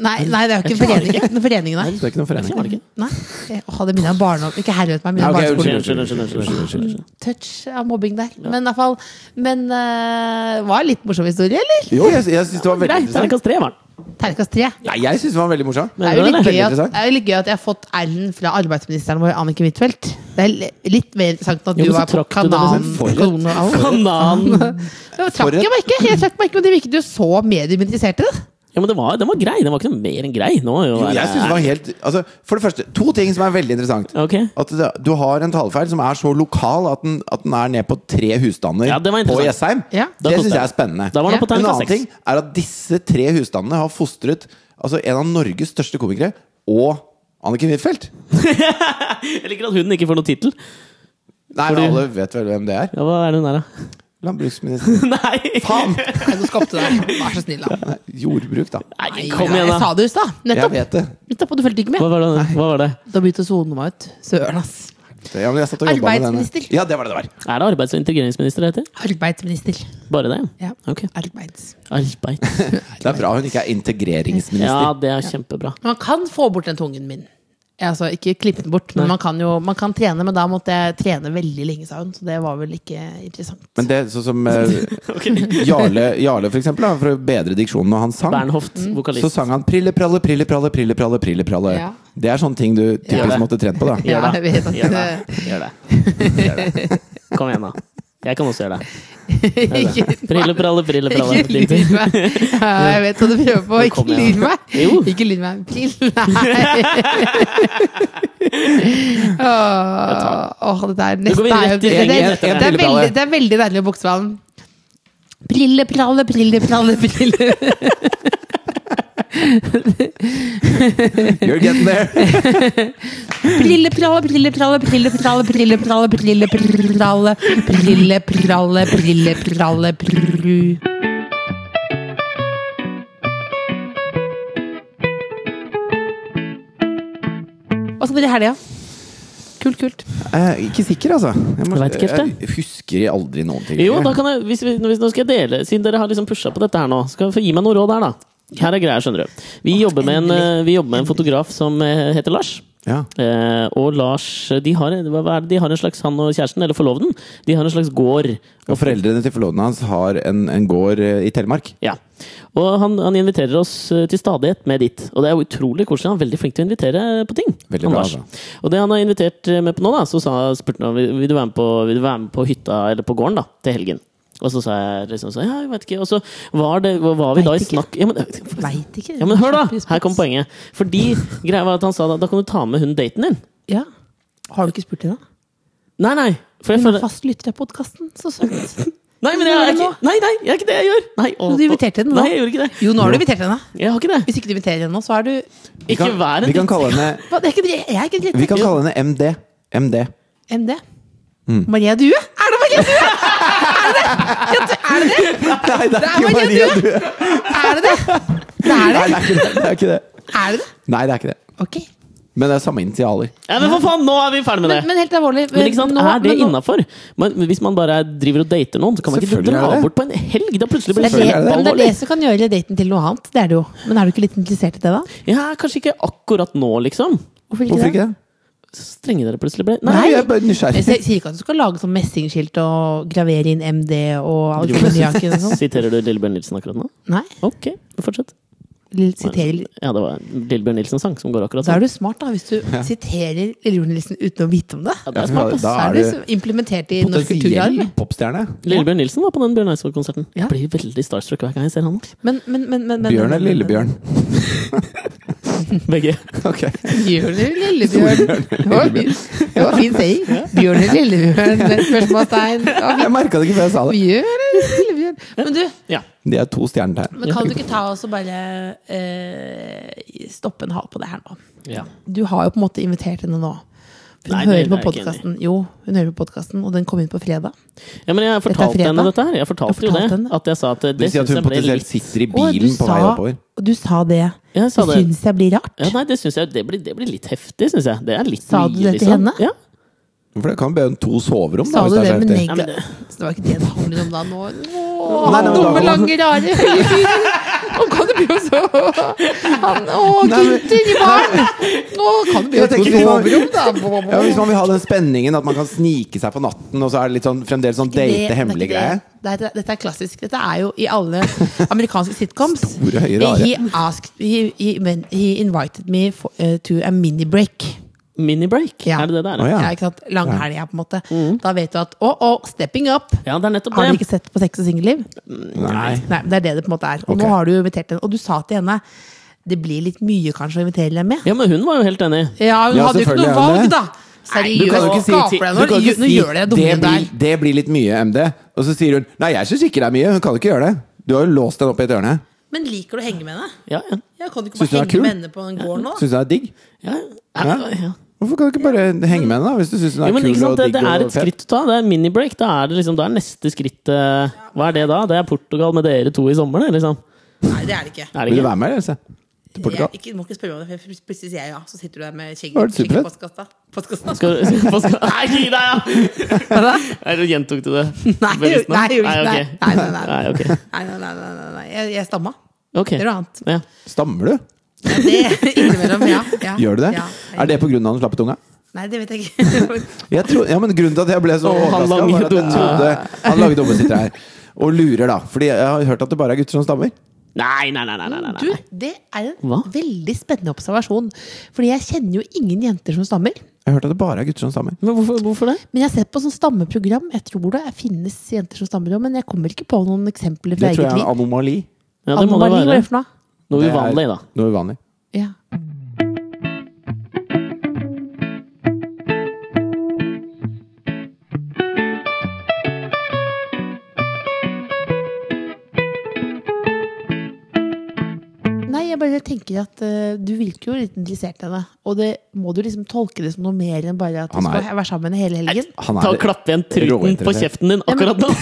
nei, nei, det er jo ikke [LAUGHS] foreningen. foreningen nei. Det er ikke noen Nei, var det forening. ikke? Nei. Åh, det begynner å barne opp. Ikke herre ut meg, Ja, mine ok, barneskoler. Unnskyld, unnskyld, unnskyld, unnskyld, unnskyld, unnskyld. Touch av mobbing der. Men i hvert fall Men eh, var en litt morsom historie, eller? Jo, jeg, jeg syns det var veldig Nei, interessant. terningkast tre var den. Terningkast tre. Nei, jeg syns det var veldig morsom. Det er, jo Mener du litt det? gøy at, Interessant. det er jo litt gøy at jeg har fått R-en fra arbeidsministeren vår, Anniken Huitfeldt. Det er li- litt mer interessant når Jo, du men så var på trakk du det, kanalen. men for et- Kolonen og alt. Kanan. [LAUGHS] Det var- trakk jeg meg ikke! Jeg trakk meg ikke, men det virket jo så medieinteressert i det. Ja, men det var, den var grei. Den var ikke noe mer enn grei. Nå, er jo, Jo, jeg synes det var helt altså, For det første, to ting som er veldig interessant. Ok. At det- du har en talefeil som er så lokal at den, at den er ned på tre husstander Ja, det var på interessant. Jessheim. Ja. Da Det koster syns jeg det. er spennende. Da var det på en terningkast annen seks. ting er at disse tre husstandene har fostret altså, en av Norges største komikere og Anniken Huitfeldt. Jeg liker at hun ikke får noen tittel. Nei, men alle vet vel hvem det er. Ja, hva er det hun er, [LAUGHS] da? Landbruksminister. Nei! Faen! Nei, nå skapte deg. Vær så snill, da. Nei, jordbruk, da. Nei, kom igjen, Jeg da! sa det i stad. Jeg Nettopp. vet det. Nettopp, og du fulgte ikke med. Hva var det? Hva var det? Da begynte sonen meg ut. Søren, ass. Ja, men jeg satt og jobbet med denne. Arbeidsminister. Ja, det var det det var. Er det arbeids- og integreringsminister det heter? Arbeidsminister. Bare det? Ja. Ok. Arbeids. Arbeid. Det er bra hun ikke er integreringsminister. Ja, det er kjempebra. Man kan få bort den tungen min. Altså, ikke klippe den bort, men man kan jo man kan trene. Men da måtte jeg trene veldig lenge, sa hun. Så det var vel ikke interessant. Men det sånn som eh, [LAUGHS] Ok. Jarle, Jarle for eksempel, da, for å bedre diksjonen når han sang. Bernhoft, Mm. Så vokalist. sang han 'prille, pralle, prille, pralle, prille, pralle'. prille, pralle Ja. Det er sånne ting du Gjør typisk det. måtte trent på, da. Ja, jeg vet at Gjør det. Gjør det. Gjør det. Kom igjen, da. Jeg kan også gjøre det. Ikke Prille, pralle, prille, pralle. Ikke lyd meg. Ja, Jeg vet hva du prøver på. Nå Ikke kommer jeg. lyd meg. Jo. Ikke lyd meg. Pil. [LAUGHS] Nei. Åh, åh, dette er går nesten vi er jo- rett i det, det, refrenget. det, er veldig- det er veldig deilig å bukseballen. Prille, pralle, prille, pralle, prille. You're getting [LAUGHS] there! Prille, pralle, prille, pralle, prille, pralle, prille, pralle, prille, pralle, prille, pralle, prille, pralle, prru. Hva skal dere i helga? Kult, kult. Eh, ikke sikker, altså. Jeg, må- Jeg vet ikke helt, jeg husker aldri noen ting. Jo, da kan jeg, hvis vi, hvis, nå skal jeg dele Siden dere har liksom pusha på dette her nå, skal jeg få gi meg noen råd her, da. Her er greia, skjønner du. Vi jobber med en, eh, vi jobber med en fotograf som eh, heter Lars. Ja. Eh, og Lars de har, hva hva er det, de har en slags han og kjæresten, eller forloveden. De har en slags gård. Og foreldrene til forloveden hans har en, en gård eh, i Telemark. Ja. Og han, han inviterer oss eh, til stadighet med dit. Og det er jo utrolig koselig. Han er veldig flink til å invitere på ting. Veldig han bra, Lars. da. Og det han har invitert eh, med på nå, da, så sa, spurte han vil vil du være med på, vil du være med på hytta eller på gården da, til helgen. Og så sa jeg liksom sånn, ja, jeg vet ikke. Og så var, det, var vi Vet da i ikke. snakk ja, men, Veit ikke. ja, men hør, da! Her kom poenget. Fordi greia var at han sa da, da kan du ta med hun daten din. Ja. Har du ikke spurt henne? Nei, nei. For jeg Hun er føler fast lytter av podkasten. Så søtt. Nei, men jeg er ikke Nei, nei, jeg er ikke det jeg gjør! Nei, å- Du inviterte henne nå. Nei, jeg gjorde ikke det. Jo, nå har du invitert henne. Jeg har ikke det. Hvis ikke du inviterer henne nå, så er du Vi Ikke kan, vær en vi kan drittsekk. kalle henne, Hva, det er ikke, Jeg er ikke en vi kan drittsekk. kalle henne MD. [LAUGHS] MD. MD. Mm. Maria Due? Er det Maria Due? Er det det? Ja, du- Nei, det er er ikke Maria Maria Due! Er det det? Det er det. Nei, det er ikke det. det, er ikke det. Er det det? Nei, det er ikke det. Ok. Men det er samme initialer. Ja, men for faen, nå er vi ferdig med det! Men, men helt alvorlig Men ikke sant, nå- Er det men nå- innafor? Hvis man bare driver og dater noen, så kan man ikke Selvfølgelig er dra det. bort på en helg! Da plutselig blir Det er det, det Selvfølgelig er det. men det er kjempealvorlig. det som kan gjøre daten til noe annet. Det er det jo. Men er du ikke litt interessert i det, da? Ja, kanskje ikke akkurat nå, liksom. Hvorfor ikke Hvorfor det? ikke det? Så strenge dere plutselig ble. Nei, Nei! jeg er bare nysgjerrig. Jeg sier- sier ikke at du skal lage sånn messingskilt og gravere inn MD og alt konjakken og [LAUGHS] sånn. [LAUGHS] Siterer du Lillebjørn Nilsen akkurat nå? Nei. Ok, fortsett. litt Siterer litt. Ja, det var Lillebjørn Nilsens sang som går akkurat Da er sånn. du smart, da, hvis du siterer Lillebjørn Nilsen uten å vite om det. Ja, det Ja, er smart, for ass. da Da er er du du så implementert i norsk kulturarv. potensiell popstjerne. Lillebjørn Nilsen var på den Bjørn Eidsvåg-konserten. Ja. Jeg blir veldig starstruck hver gang jeg [LAUGHS] ser han. ass. Men, men, men, men, men Bjørn eller Lillebjørn? [LAUGHS] Begge. Ok. Bjørn eller [LAUGHS] Lillebjørn? Det var, det var fin saying. Bjørn eller Lillebjørn? [LAUGHS] Spørsmålstegn. Det var fint. Jeg merka det ikke før jeg sa det. Bjørn eller Lillebjørn? Men du, Ja. De er to stjernetegn. men kan du ikke ta oss og bare eh, stoppe en hal på det her nå? ja. Du har jo på en måte invitert henne nå. Hun Nei, det hører på er jeg ikke enig podkasten. Jo, hun hører på podkasten, og den kom inn på fredag. Ja, men jeg er fortalte fredag. henne dette her. Jeg fortalte, Jeg fortalte jo det. henne. At jeg sa at Det eh, det vil si at hun syns jeg ble potensielt litt sitter i Å, du bilen på vei sa- oppover. Du sa det. Jeg sa det det. syns jeg blir rart. Ja, nei, det synes jeg det blir, det blir litt heftig, syns jeg. Det er litt Sa mye, du det til liksom. henne? Ja. For det kan be om to soverom, Sa da. Hvis du det det er med så heftig. Ja, nega? men det- Så det var ikke det det handler om da nå? Åh, Nei, han nei, men dumme, da- lange, rare, høye fyren! Nå kan det bli jo så Han Å, Nei, men- gutter i baren! Nå kan det bli jo Jeg tenker vi så må- overrom, da! Ja, Hvis man vil ha den spenningen at man kan snike seg på natten, og så er det litt sånn, fremdeles sånn Det- det date er hemmelig ikke det. greie. Det er- Dette er klassisk. Dette er jo i [LAUGHS] alle amerikanske sitcoms. Store, høye, rare. he, asked, he, he, when he invited me for, eh, to a mini break. Minibreak, Ja. er det det det er? Å, ja. Mm. Ja. ikke sant? Langhelga, på en måte. Da vet du at å, å, stepping up! Ja, det er nettopp Har du det. ikke sett på Sex og singelliv? Nei. Nei, men det er det det på en måte er. Og Ok. nå har du jo invitert henne. Og du sa til henne det blir litt mye kanskje å invitere henne med. Ja, men hun var jo helt enig. Ja, hun Ja, hadde jo ikke noe selvfølgelig er valg, hun det. da! du kan jo Seriøst, ikke si til- skaper deg Du nå. kan ikke Nå si, gjør dere det dumme blir, der. det blir litt mye, MD. Og så sier hun Nei, jeg syns ikke det er mye. Hun kan jo ikke gjøre det. Du har jo låst den opp i et hjørne. Men liker du å henge med henne? Ja, ja. Ja, kan du ikke Synes du bare det er henge kul? med henne på en gård nå? Syns du det er digg? ja. ja. ja. Hvorfor kan du ikke bare henge med henne, da? Hvis du syns hun er Jo, men kul ikke sant, og det, digg det er og et fet? skritt å ta. Det er minibreak. Da er det liksom, da er neste skritt eh, Hva er det da? Det er Portugal med dere to i sommer, det, liksom. Nei, det er det ikke. Er det Vil du ikke? være med, Else? Til Jeg, Portugal? ikke, du må ikke spørre meg om det, for pl- plutselig sier jeg ja, så sitter du der med skjegget Var det skjegget i superfett? postkassa. postkassa. Skal, du- [LAUGHS] skal, skal, nei, gi deg, ja! [LAUGHS] Nei, du gjentok du det? [LAUGHS] [LAUGHS] Nei, bevisst nå? nei, jeg gjorde ikke Nei, det. Nei, ok. nei, nei. Nei, ok. Nei, nei, nei, nei, nei, nei. Jeg, jeg stamma. Ok. Det er noe annet. Ja. Stammer du? Ja, det innimellom, ja. ja. Gjør du det? Ja. Er det på grunn av den slappe tunga? Nei, det vet jeg ikke. [LAUGHS] Jeg tro, ja, men Grunnen til at jeg ble så Å, han overraska, var lange at jeg dumme. trodde han lagde dumme sitter her. Og lurer, da. Fordi jeg har hørt at det bare er gutter som stammer. Nei, nei, nei, nei, nei, nei. Du, det er en Hva? veldig spennende observasjon. Fordi jeg kjenner jo ingen jenter som stammer. Jeg har hørt at det bare er gutter som stammer. Men hvorfor, hvorfor det? Men jeg har sett på sånn stammeprogram. Jeg tror det finnes jenter som stammer, men jeg kommer ikke på noen eksempler fra Det tror jeg eget er en liv. anomali. Ja, det må Anomali, det hva er være. det for noe? Noe Det er uvanlig, da. Noe uvanlig. Ja. Nei, jeg bare tenker at eh, du virker jo litt interessert i henne. Og det må du liksom tolke det som noe mer enn bare at du Han er- skal være sammen med henne hele helgen. Han Ta er og Klapp igjen truten på råinteressert. kjeften din akkurat nå.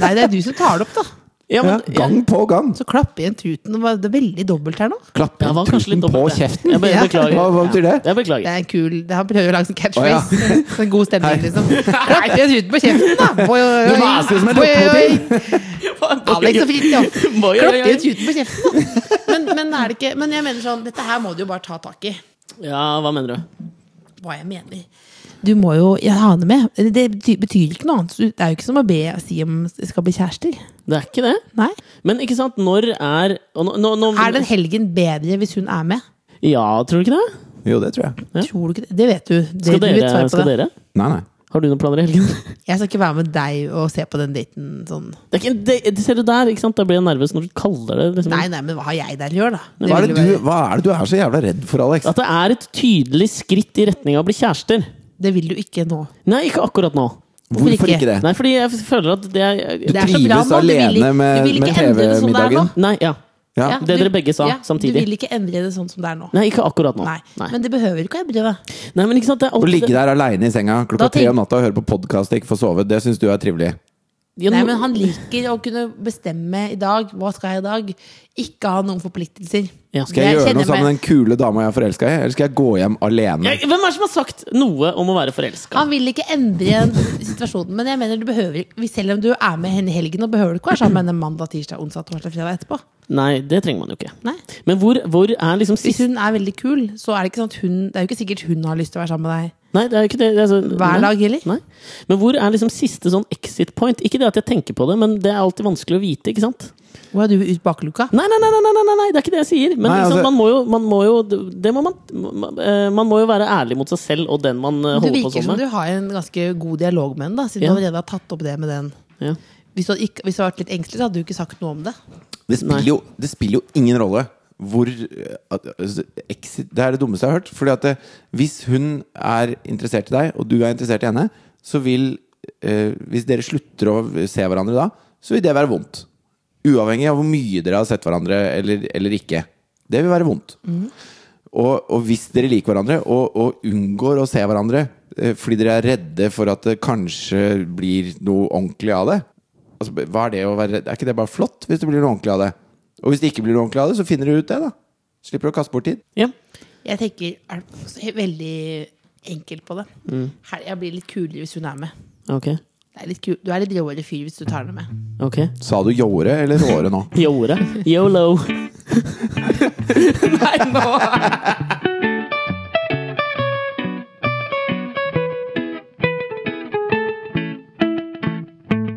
Nei, det er du som tar det opp, da. Ja, Ja, men, ja, gang på gang. Så klapp igjen truten. Det var- Det er veldig dobbelt her nå. Klapper jeg var kanskje litt truten på dobbelt, jeg. kjeften. Jeg bare Ja. beklager. Hva, hva betyr det? Jeg Det beklager. er en kul det Han prøver å lage sånn Å, catchphrase. [LAUGHS] Sånn god stemning, liksom. Klapp igjen truten på kjeften, da! Oi, oi, oi. Du maser som et Oi, oi, oi. [LAUGHS] Alex og Alex Fridtjof. Oi, oi, oi. Klapp igjen truten på kjeften, da! [LAUGHS] Men, men er det ikke Men jeg mener sånn, dette her må du jo bare ta tak i. Ja, hva mener du? Hva jeg mener. Du må jo Jeg aner med. Det bety- betyr ikke noe annet. Det er jo ikke som å be si om det skal bli kjærester. Det er ikke det? Nei. Men ikke sant, når er og nå, nå, nå, Er den helgen bedre hvis hun er med? Ja, tror du ikke det? Jo, det tror jeg. Tror du ikke det? Det vet du. Det, Skal du vet dere? svaret på Skal det. dere? Nei, nei. Har du noen planer i helgen? [LAUGHS] Jeg skal ikke være med deg og se på den daten sånn. Det er ikke, det, det ser du der, ikke sant? Da blir jeg nervøs når du kaller det liksom. Nei, nei, men hva har jeg der å gjøre, da? Det Hva er, vil det jo være- du, hva er det du er så jævla redd for, Alex? At det er et tydelig skritt i retning av å bli kjærester. Det vil du ikke nå. Nei, ikke akkurat nå. hvorfor Hvorfor ikke? ikke det? Nei, fordi jeg føler at det er Det er så Trives bra nå. Du vil, alene ikke- med- du vil ikke med endre det som det er nå. TV-middagen. Nei, ja. Ja. Ja, Det dere begge sa samtidig. Du vil ikke endre det sånn som det er nå. Nei, ikke akkurat nå. Nei. Nei. Men det behøver ikke å endre det. Nei, men ikke sant, det er Å ligge alltid der aleine i senga Da klokka tenk- tre om natta og høre på podkast og ikke få sove, det syns du er trivelig? Ja, Nei, nå- men han liker å kunne bestemme i dag. Hva skal jeg i dag? Ikke ha noen forpliktelser. Ja. Skal Det jeg, gjøre kjenner noe sammen med meg- den kule dama jeg er forelska i, eller skal jeg gå hjem alene? Jeg- Hvem er det som har sagt noe om å være forelska? Han vil ikke endre situasjonen, men jeg mener du behøver hvis- selv om du er med henne i helgen, og behøver du ikke være sammen med henne mandag, tirsdag, onsdag, torsdag, fredag etterpå. Nei, det trenger man jo ikke. Nei. Men hvor, hvor er liksom Hvis siste hun er veldig kul, så er det ikke sånn at hun Det er jo ikke sikkert hun har lyst til å være sammen med deg Nei, det er jo ikke det. det er så- hver dag heller. Nei. Men hvor er liksom siste sånn exit point? Ikke det at jeg tenker på det, men det er alltid vanskelig å vite, ikke sant? Hvor er du ut bakluka? Nei, nei, nei, nei, nei, nei, nei det er ikke det jeg sier. Men Nei, liksom, altså- man må jo, man må jo det må man, man- eh, man må jo være ærlig mot seg selv og den man eh, Det holder på virker sånn som med. du har en ganske god dialog med henne, da, siden Ja. du allerede har tatt opp det med den. Ja. Hvis du, hadde ikke, hvis du hadde vært litt engstelig, så hadde du ikke sagt noe om det. Det spiller, jo, det spiller jo ingen rolle hvor eh, at- altså, exit, Det er det dummeste jeg har hørt. Fordi at eh, hvis hun er interessert i deg, og du er interessert i henne, så vil eh, Hvis dere slutter å se hverandre da, så vil det være vondt. Uavhengig av hvor mye dere har sett hverandre eller, eller ikke. Det vil være vondt. Mm. Og, og hvis dere liker hverandre og, og unngår å se hverandre eh, fordi dere er redde for at det kanskje blir noe ordentlig av det altså, hva Er det å være redd? Er ikke det bare flott hvis det blir noe ordentlig av det? Og hvis det ikke blir noe ordentlig av det, så finner dere ut det, da. Slipper å kaste bort tid. Ja. Jeg tenker er også veldig enkelt på det. Mm. Her, jeg blir litt kulere hvis hun er med. Ok. Det er litt kul. Du er litt råere fyr hvis du tar [LAUGHS] henne med. Ok. Sa du jåre eller råre nå? Yore. [LAUGHS] Yolo. Nei, nå!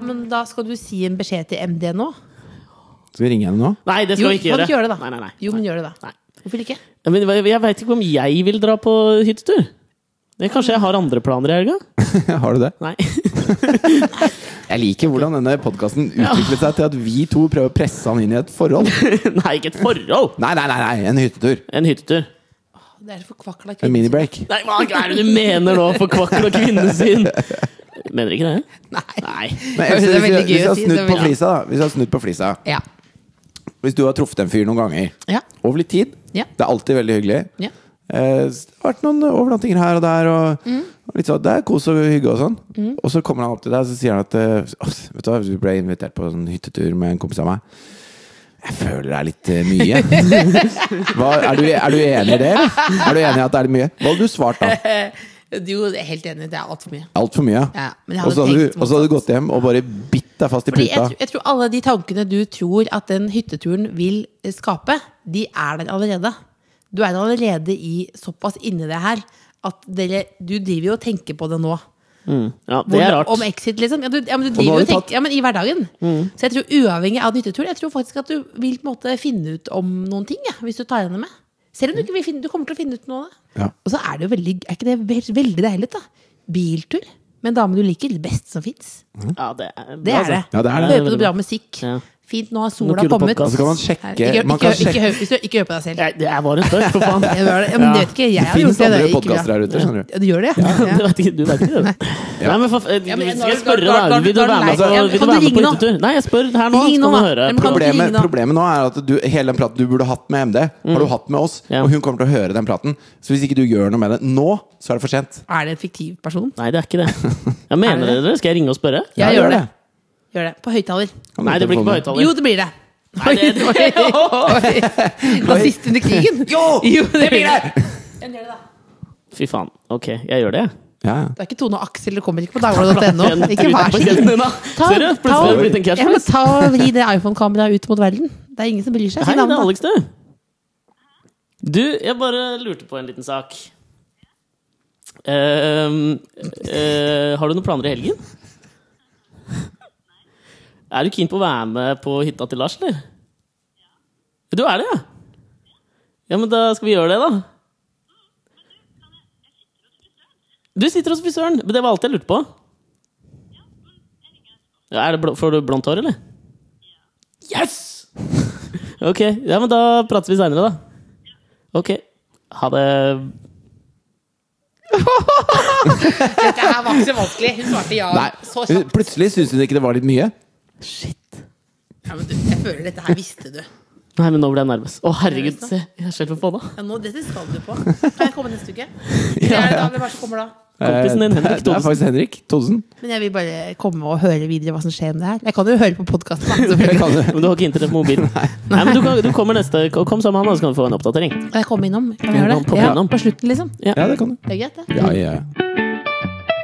Men da skal du si en beskjed til MD nå? Skal vi ringe henne [LAUGHS] nå? Nei, det Jo, skal vi ikke kan du gjøre. ikke gjøre det, da? Nei, nei, nei. Jo, men gjør det, da. Nei. Hvorfor ikke? Men jeg- jeg veit ikke om jeg vil dra på hyttetur. Det Kanskje jeg har andre planer i helga? Har du det? Nei. [LAUGHS] Jeg liker hvordan denne podkasten utviklet seg til at vi to prøver å presse han inn i et forhold. Nei, ikke et forhold! Nei, nei, nei, nei. en hyttetur. En hyttetur. Det er så forkvakla En kvinne. minibreak. Nei, hva er det du mener nå, forkvakla kvinnesyn? Mener ikke det? Nei. Nei, Nei. Det er hvis, hvis, veldig hvis, gøy å jeg har si, snudd så på veldig- flisa, da. hvis jeg har snudd på flisa Ja. Hvis du har truffet en fyr noen ganger Ja. over litt tid Ja. Det er alltid veldig hyggelig. ja. Eh, det har vært noen overnattinger her og der. Og, Mm. og litt sånn, Det er kos og hygge og sånn. Og så kommer han opp til deg og så sier han at eh, «Åh, vet du hva, vi ble invitert på en hyttetur med en kompis av meg. Jeg føler det er litt eh, [LAUGHS] mye. Hva, er, du, er du enig i det? eller? Er du enig i at det er litt mye? Hva hadde du svart da? Jo, jeg er helt enig. Det er altfor mye. Altfor mye. Ja, men jeg hadde og så hadde, tenkt du- og så hadde du gått hjem og bare bitt deg fast i Fordi jeg, puta. tror- jeg tror alle de tankene du tror at den hytteturen vil eh, skape, de er der allerede. Du er allerede i såpass inni det her at dere, du driver jo og tenker på det nå. Ja, det er Om rart. exit, liksom. Ja, du, ja, men du nå driver har jo og du tatt- tenker ja, men i hverdagen. Så jeg tror uavhengig av en hyttetur, jeg tror faktisk at du vil på en måte finne ut om noen ting, ja, hvis du tar henne med. Selv om du ikke vil finne Du kommer til å finne ut noe av det. Ja. Og så er det jo veldig Er ikke det ve- veldig deilig, da? Biltur med en dame du liker. Det beste som fins. Ja, det er bra, Det er det. altså. Ja, det er det. Høre på noe bra musikk. Ja. Fint, nå har sola kule kommet. Og så Altså, podcast. kan man Her, Ikke, sjekke ikke, man kan ikke, ikke, sjekke, hør- hvis du ikke hører på deg selv. Nei, Det er bare en spøk, for faen. [LAUGHS] Jeg gjør det. [LAUGHS] Ja, men det vet ikke jeg. Jeg Det har gjort det. det finnes andre er ikke bra. podkaster her ute, skjønner du. Ja, du gjør det? Ja. Du vet ikke, du vet ikke det. Nei, men for, ja, men skal jeg nå- nå- nå- spørre, da? nå- Vil du nå- være nå- nå- altså, kan du med på, vil du være med på ringe nå? hyttetur? Nei, jeg spør her nå. Ring Så nå, da. kan du Mm. høre. Men kan du- problemet, ringe nå? problemet nå er at du, hele den praten du burde hatt med MD, har du hatt med oss. Ja. Og hun kommer til å høre den praten. Så hvis ikke du gjør noe med det nå, så er det for sent. Er det en fiktiv person? Nei, det er ikke det. Jeg mener Er det det? dere? Skal jeg ringe og spørre? Jeg Ja, gjør det. Gjør det. På høyttaler. Kan du Nei, det blir ikke på telefonen? høyttaler. Jo, det blir det. Nei, det- [LAUGHS] Oi, oi, oi. Nazist under krigen. [LAUGHS] [LAUGHS] Jo, det blir det! Gjør det, da. Fy faen. Ok, jeg gjør det. jeg. Ja, ja. Det er ikke Tone og Aksel, det kommer ikke på dagbladet.no. Den Ikke truta vær på så snill. kjeften din, da. Ta- Ser du? ta- Plutselig har det blitt en Ja, men catchphrase. ta og Vri det iPhone-kameraet ut mot verden. Det er ingen som bryr seg. Si Hei, det navnet, er da. [LAUGHS] Alex, du. Du, jeg bare lurte på en liten sak. Ehm, eh, har du noen planer i helgen? Er du keen på å være med på hytta til Lars, eller? Du er det, ja? Ja, men da skal vi gjøre det, da. Du sitter hos frisøren! Men det var alt jeg lurte på. Ja, er det blå, får du blondt hår, eller? Yes! Ok, ja, men da prater vi seinere, da. Ok. Ha det. Det her var ikke så vanskelig. Hun svarte ja Nei, Eh, så kjapt. Plutselig syntes hun ikke det var litt mye. Shit. Ja, men du, jeg føler dette her visste du. Nei, men nå ble jeg nervøs. Å, herregud, se. Jeg er selv forbanna. Ja, nå, dette skal du på. Kan jeg komme [LAUGHS] neste uke? Eller er det da, hvem er det som kommer da? Kompisen din, [LAUGHS] Eh, Henrik [LAUGHS] Det er Thodesen. faktisk Henrik Thodesen. Men jeg vil bare komme og høre videre hva som skjer med det her. Jeg kan jo høre på podkasten. [LAUGHS] Jeg kan- Men du har ikke internett på [LAUGHS] mobilen? Nei, men du, kan, du kommer neste uke. Kom sammen med han, da, så kan vi få en oppdatering. Kan jeg komme innom? Kan jeg gjøre det? Kom Ja, innom. på slutten, liksom. Ja, det kan du. Det er greit, det. Ja, ja. ja.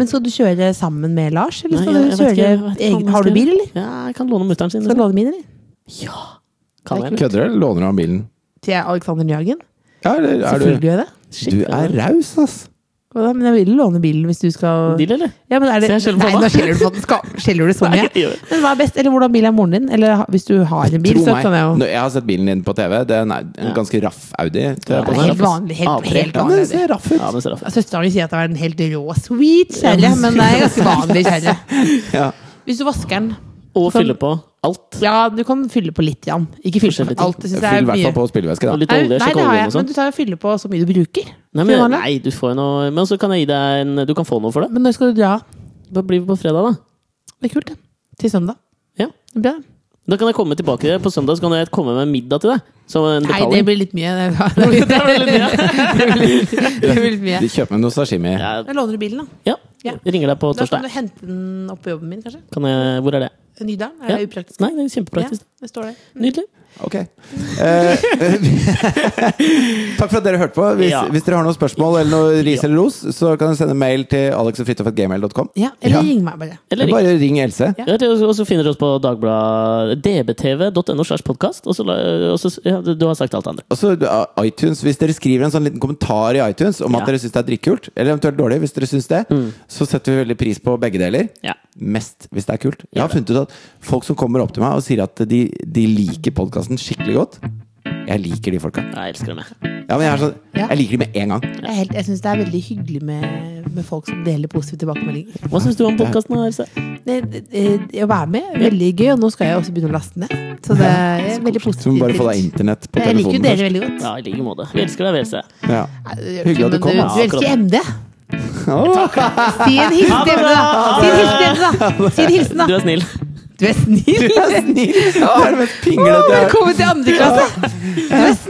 Men skal du kjøre sammen med Lars, eller Nei, skal jeg- du jeg vet ikke- jeg kjøre vet ikke hva egen man Har du skal bil, gjøre. eller? Ja, jeg kan låne mutter'n sin. Skal du låne min, eller? Ja, kan jeg. Kødder du, eller låner du han bilen? Til Alexander Njagen? Ja, eller er Selvfølgelig du gjør jeg det. Shit, Du er raus, ass. Hva da? Men jeg vil låne bilen hvis du skal Deal, eller? ja, men er det, Så jeg skjeller på Nei, han. nå skjeller du på den. Skal- Skjeller du så Nei, mye? jeg gjør det. Men hva er best? Eller hvordan bil er moren din? Eller ha- hvis du har en bil, Tro så meg. kan jeg jo Når jeg har sett bilen din på TV. Den er en ganske raff Audi. tror jeg Det på. er helt vanlig. Helt, Avbrekk. helt altså, Ja, men vanlig. den ser raff ut. Ja, men så er det fint. Søsteren min sier at det er en helt rå, sweet kjærlighet, men det er ganske vanlig kjærlighet. Ja. Hvis du vasker den Og Sånn. fylle på alt. Ja, du kan fylle på litt, Jan. Ikke fylle på alt. Jeg synes det Fyll i er hvert fall mye. på spillevæske, da. Og litt Nei, olje, nei, det har sjekkeolje og jeg, men sånn. du tar og fyller på så mye du bruker. Nei, Til men, vanlig. nei, du får jo noe Men så kan jeg gi deg en Du kan få noe for det. Men når skal du dra? Da blir vi på fredag, da. Det er kult, det. Til søndag. Ja. Det blir bra. Da kan jeg komme tilbake til det. På søndag så kan jeg komme med middag til deg. Som en Nei, det betaling. blir litt mye. Det blir- det blir litt mye. [LAUGHS] Det blir litt mye. De kjøper meg noe sashimi. ja, Jeg låner bilen, da. ja. Ja. Jeg ringer deg på Da kan du torsdag. hente den opp på jobben min, kanskje. Kan jeg, hvor er det? Nydalen? Ja. Er det upraktisk? Nei, det er Ja, kjempepraktisk. det står der. Nydelig. Ok. Eh, [LAUGHS] Takk for at dere hørte på. Hvis, Ja. hvis dere har noen spørsmål eller noe ris Ja. eller ros, så kan dere sende mail til alexogfridtjof.gmail.com. Ja, eller Ja. ring meg bare. Eller Eller ring. bare ring Else. Ja. Ja, det- Og så finner du oss på Dagbladet dbtv.no slags podkast. Og så, la- og så ja, du du har sagt alt andre. Og så uh, iTunes, Hvis dere skriver en sånn liten kommentar i iTunes om at Ja. Mm. dere syns det er drittkult, eller eventuelt dårlig, hvis dere syns det, så setter vi veldig pris på begge deler. Ja. Mest hvis det er kult. Jeg har funnet ut at folk som kommer opp til meg og sier at de, de liker podkasten podkasten skikkelig godt. Jeg liker de folka. Jeg elsker dem, jeg. Ja, men jeg, er sånn, Ja. jeg liker de med en gang. Jeg, er helt- jeg syns det er veldig hyggelig med, med folk som deler positive tilbakemeldinger. Hva syns du om podkasten? Det, det, det, å være med, veldig gøy. Og nå skal jeg også begynne å laste ned. Så det er veldig positivt. Så må bare [LAUGHS] få deg internett på Jeg liker jo telefonen dere først. veldig godt. Ja, i like måte. Vi elsker deg, VLC. [LAUGHS] Ja. [LAUGHS] Hyggelig at du kom, Men da. Du elsker MD. Si en hilsen til MD, da. Si en hilsen til MD, da. Si en hilsen, Du da. er snill. Du er snill. Du er snill! Det er det mest pinglete jeg har Velkommen til andre klasse. Du er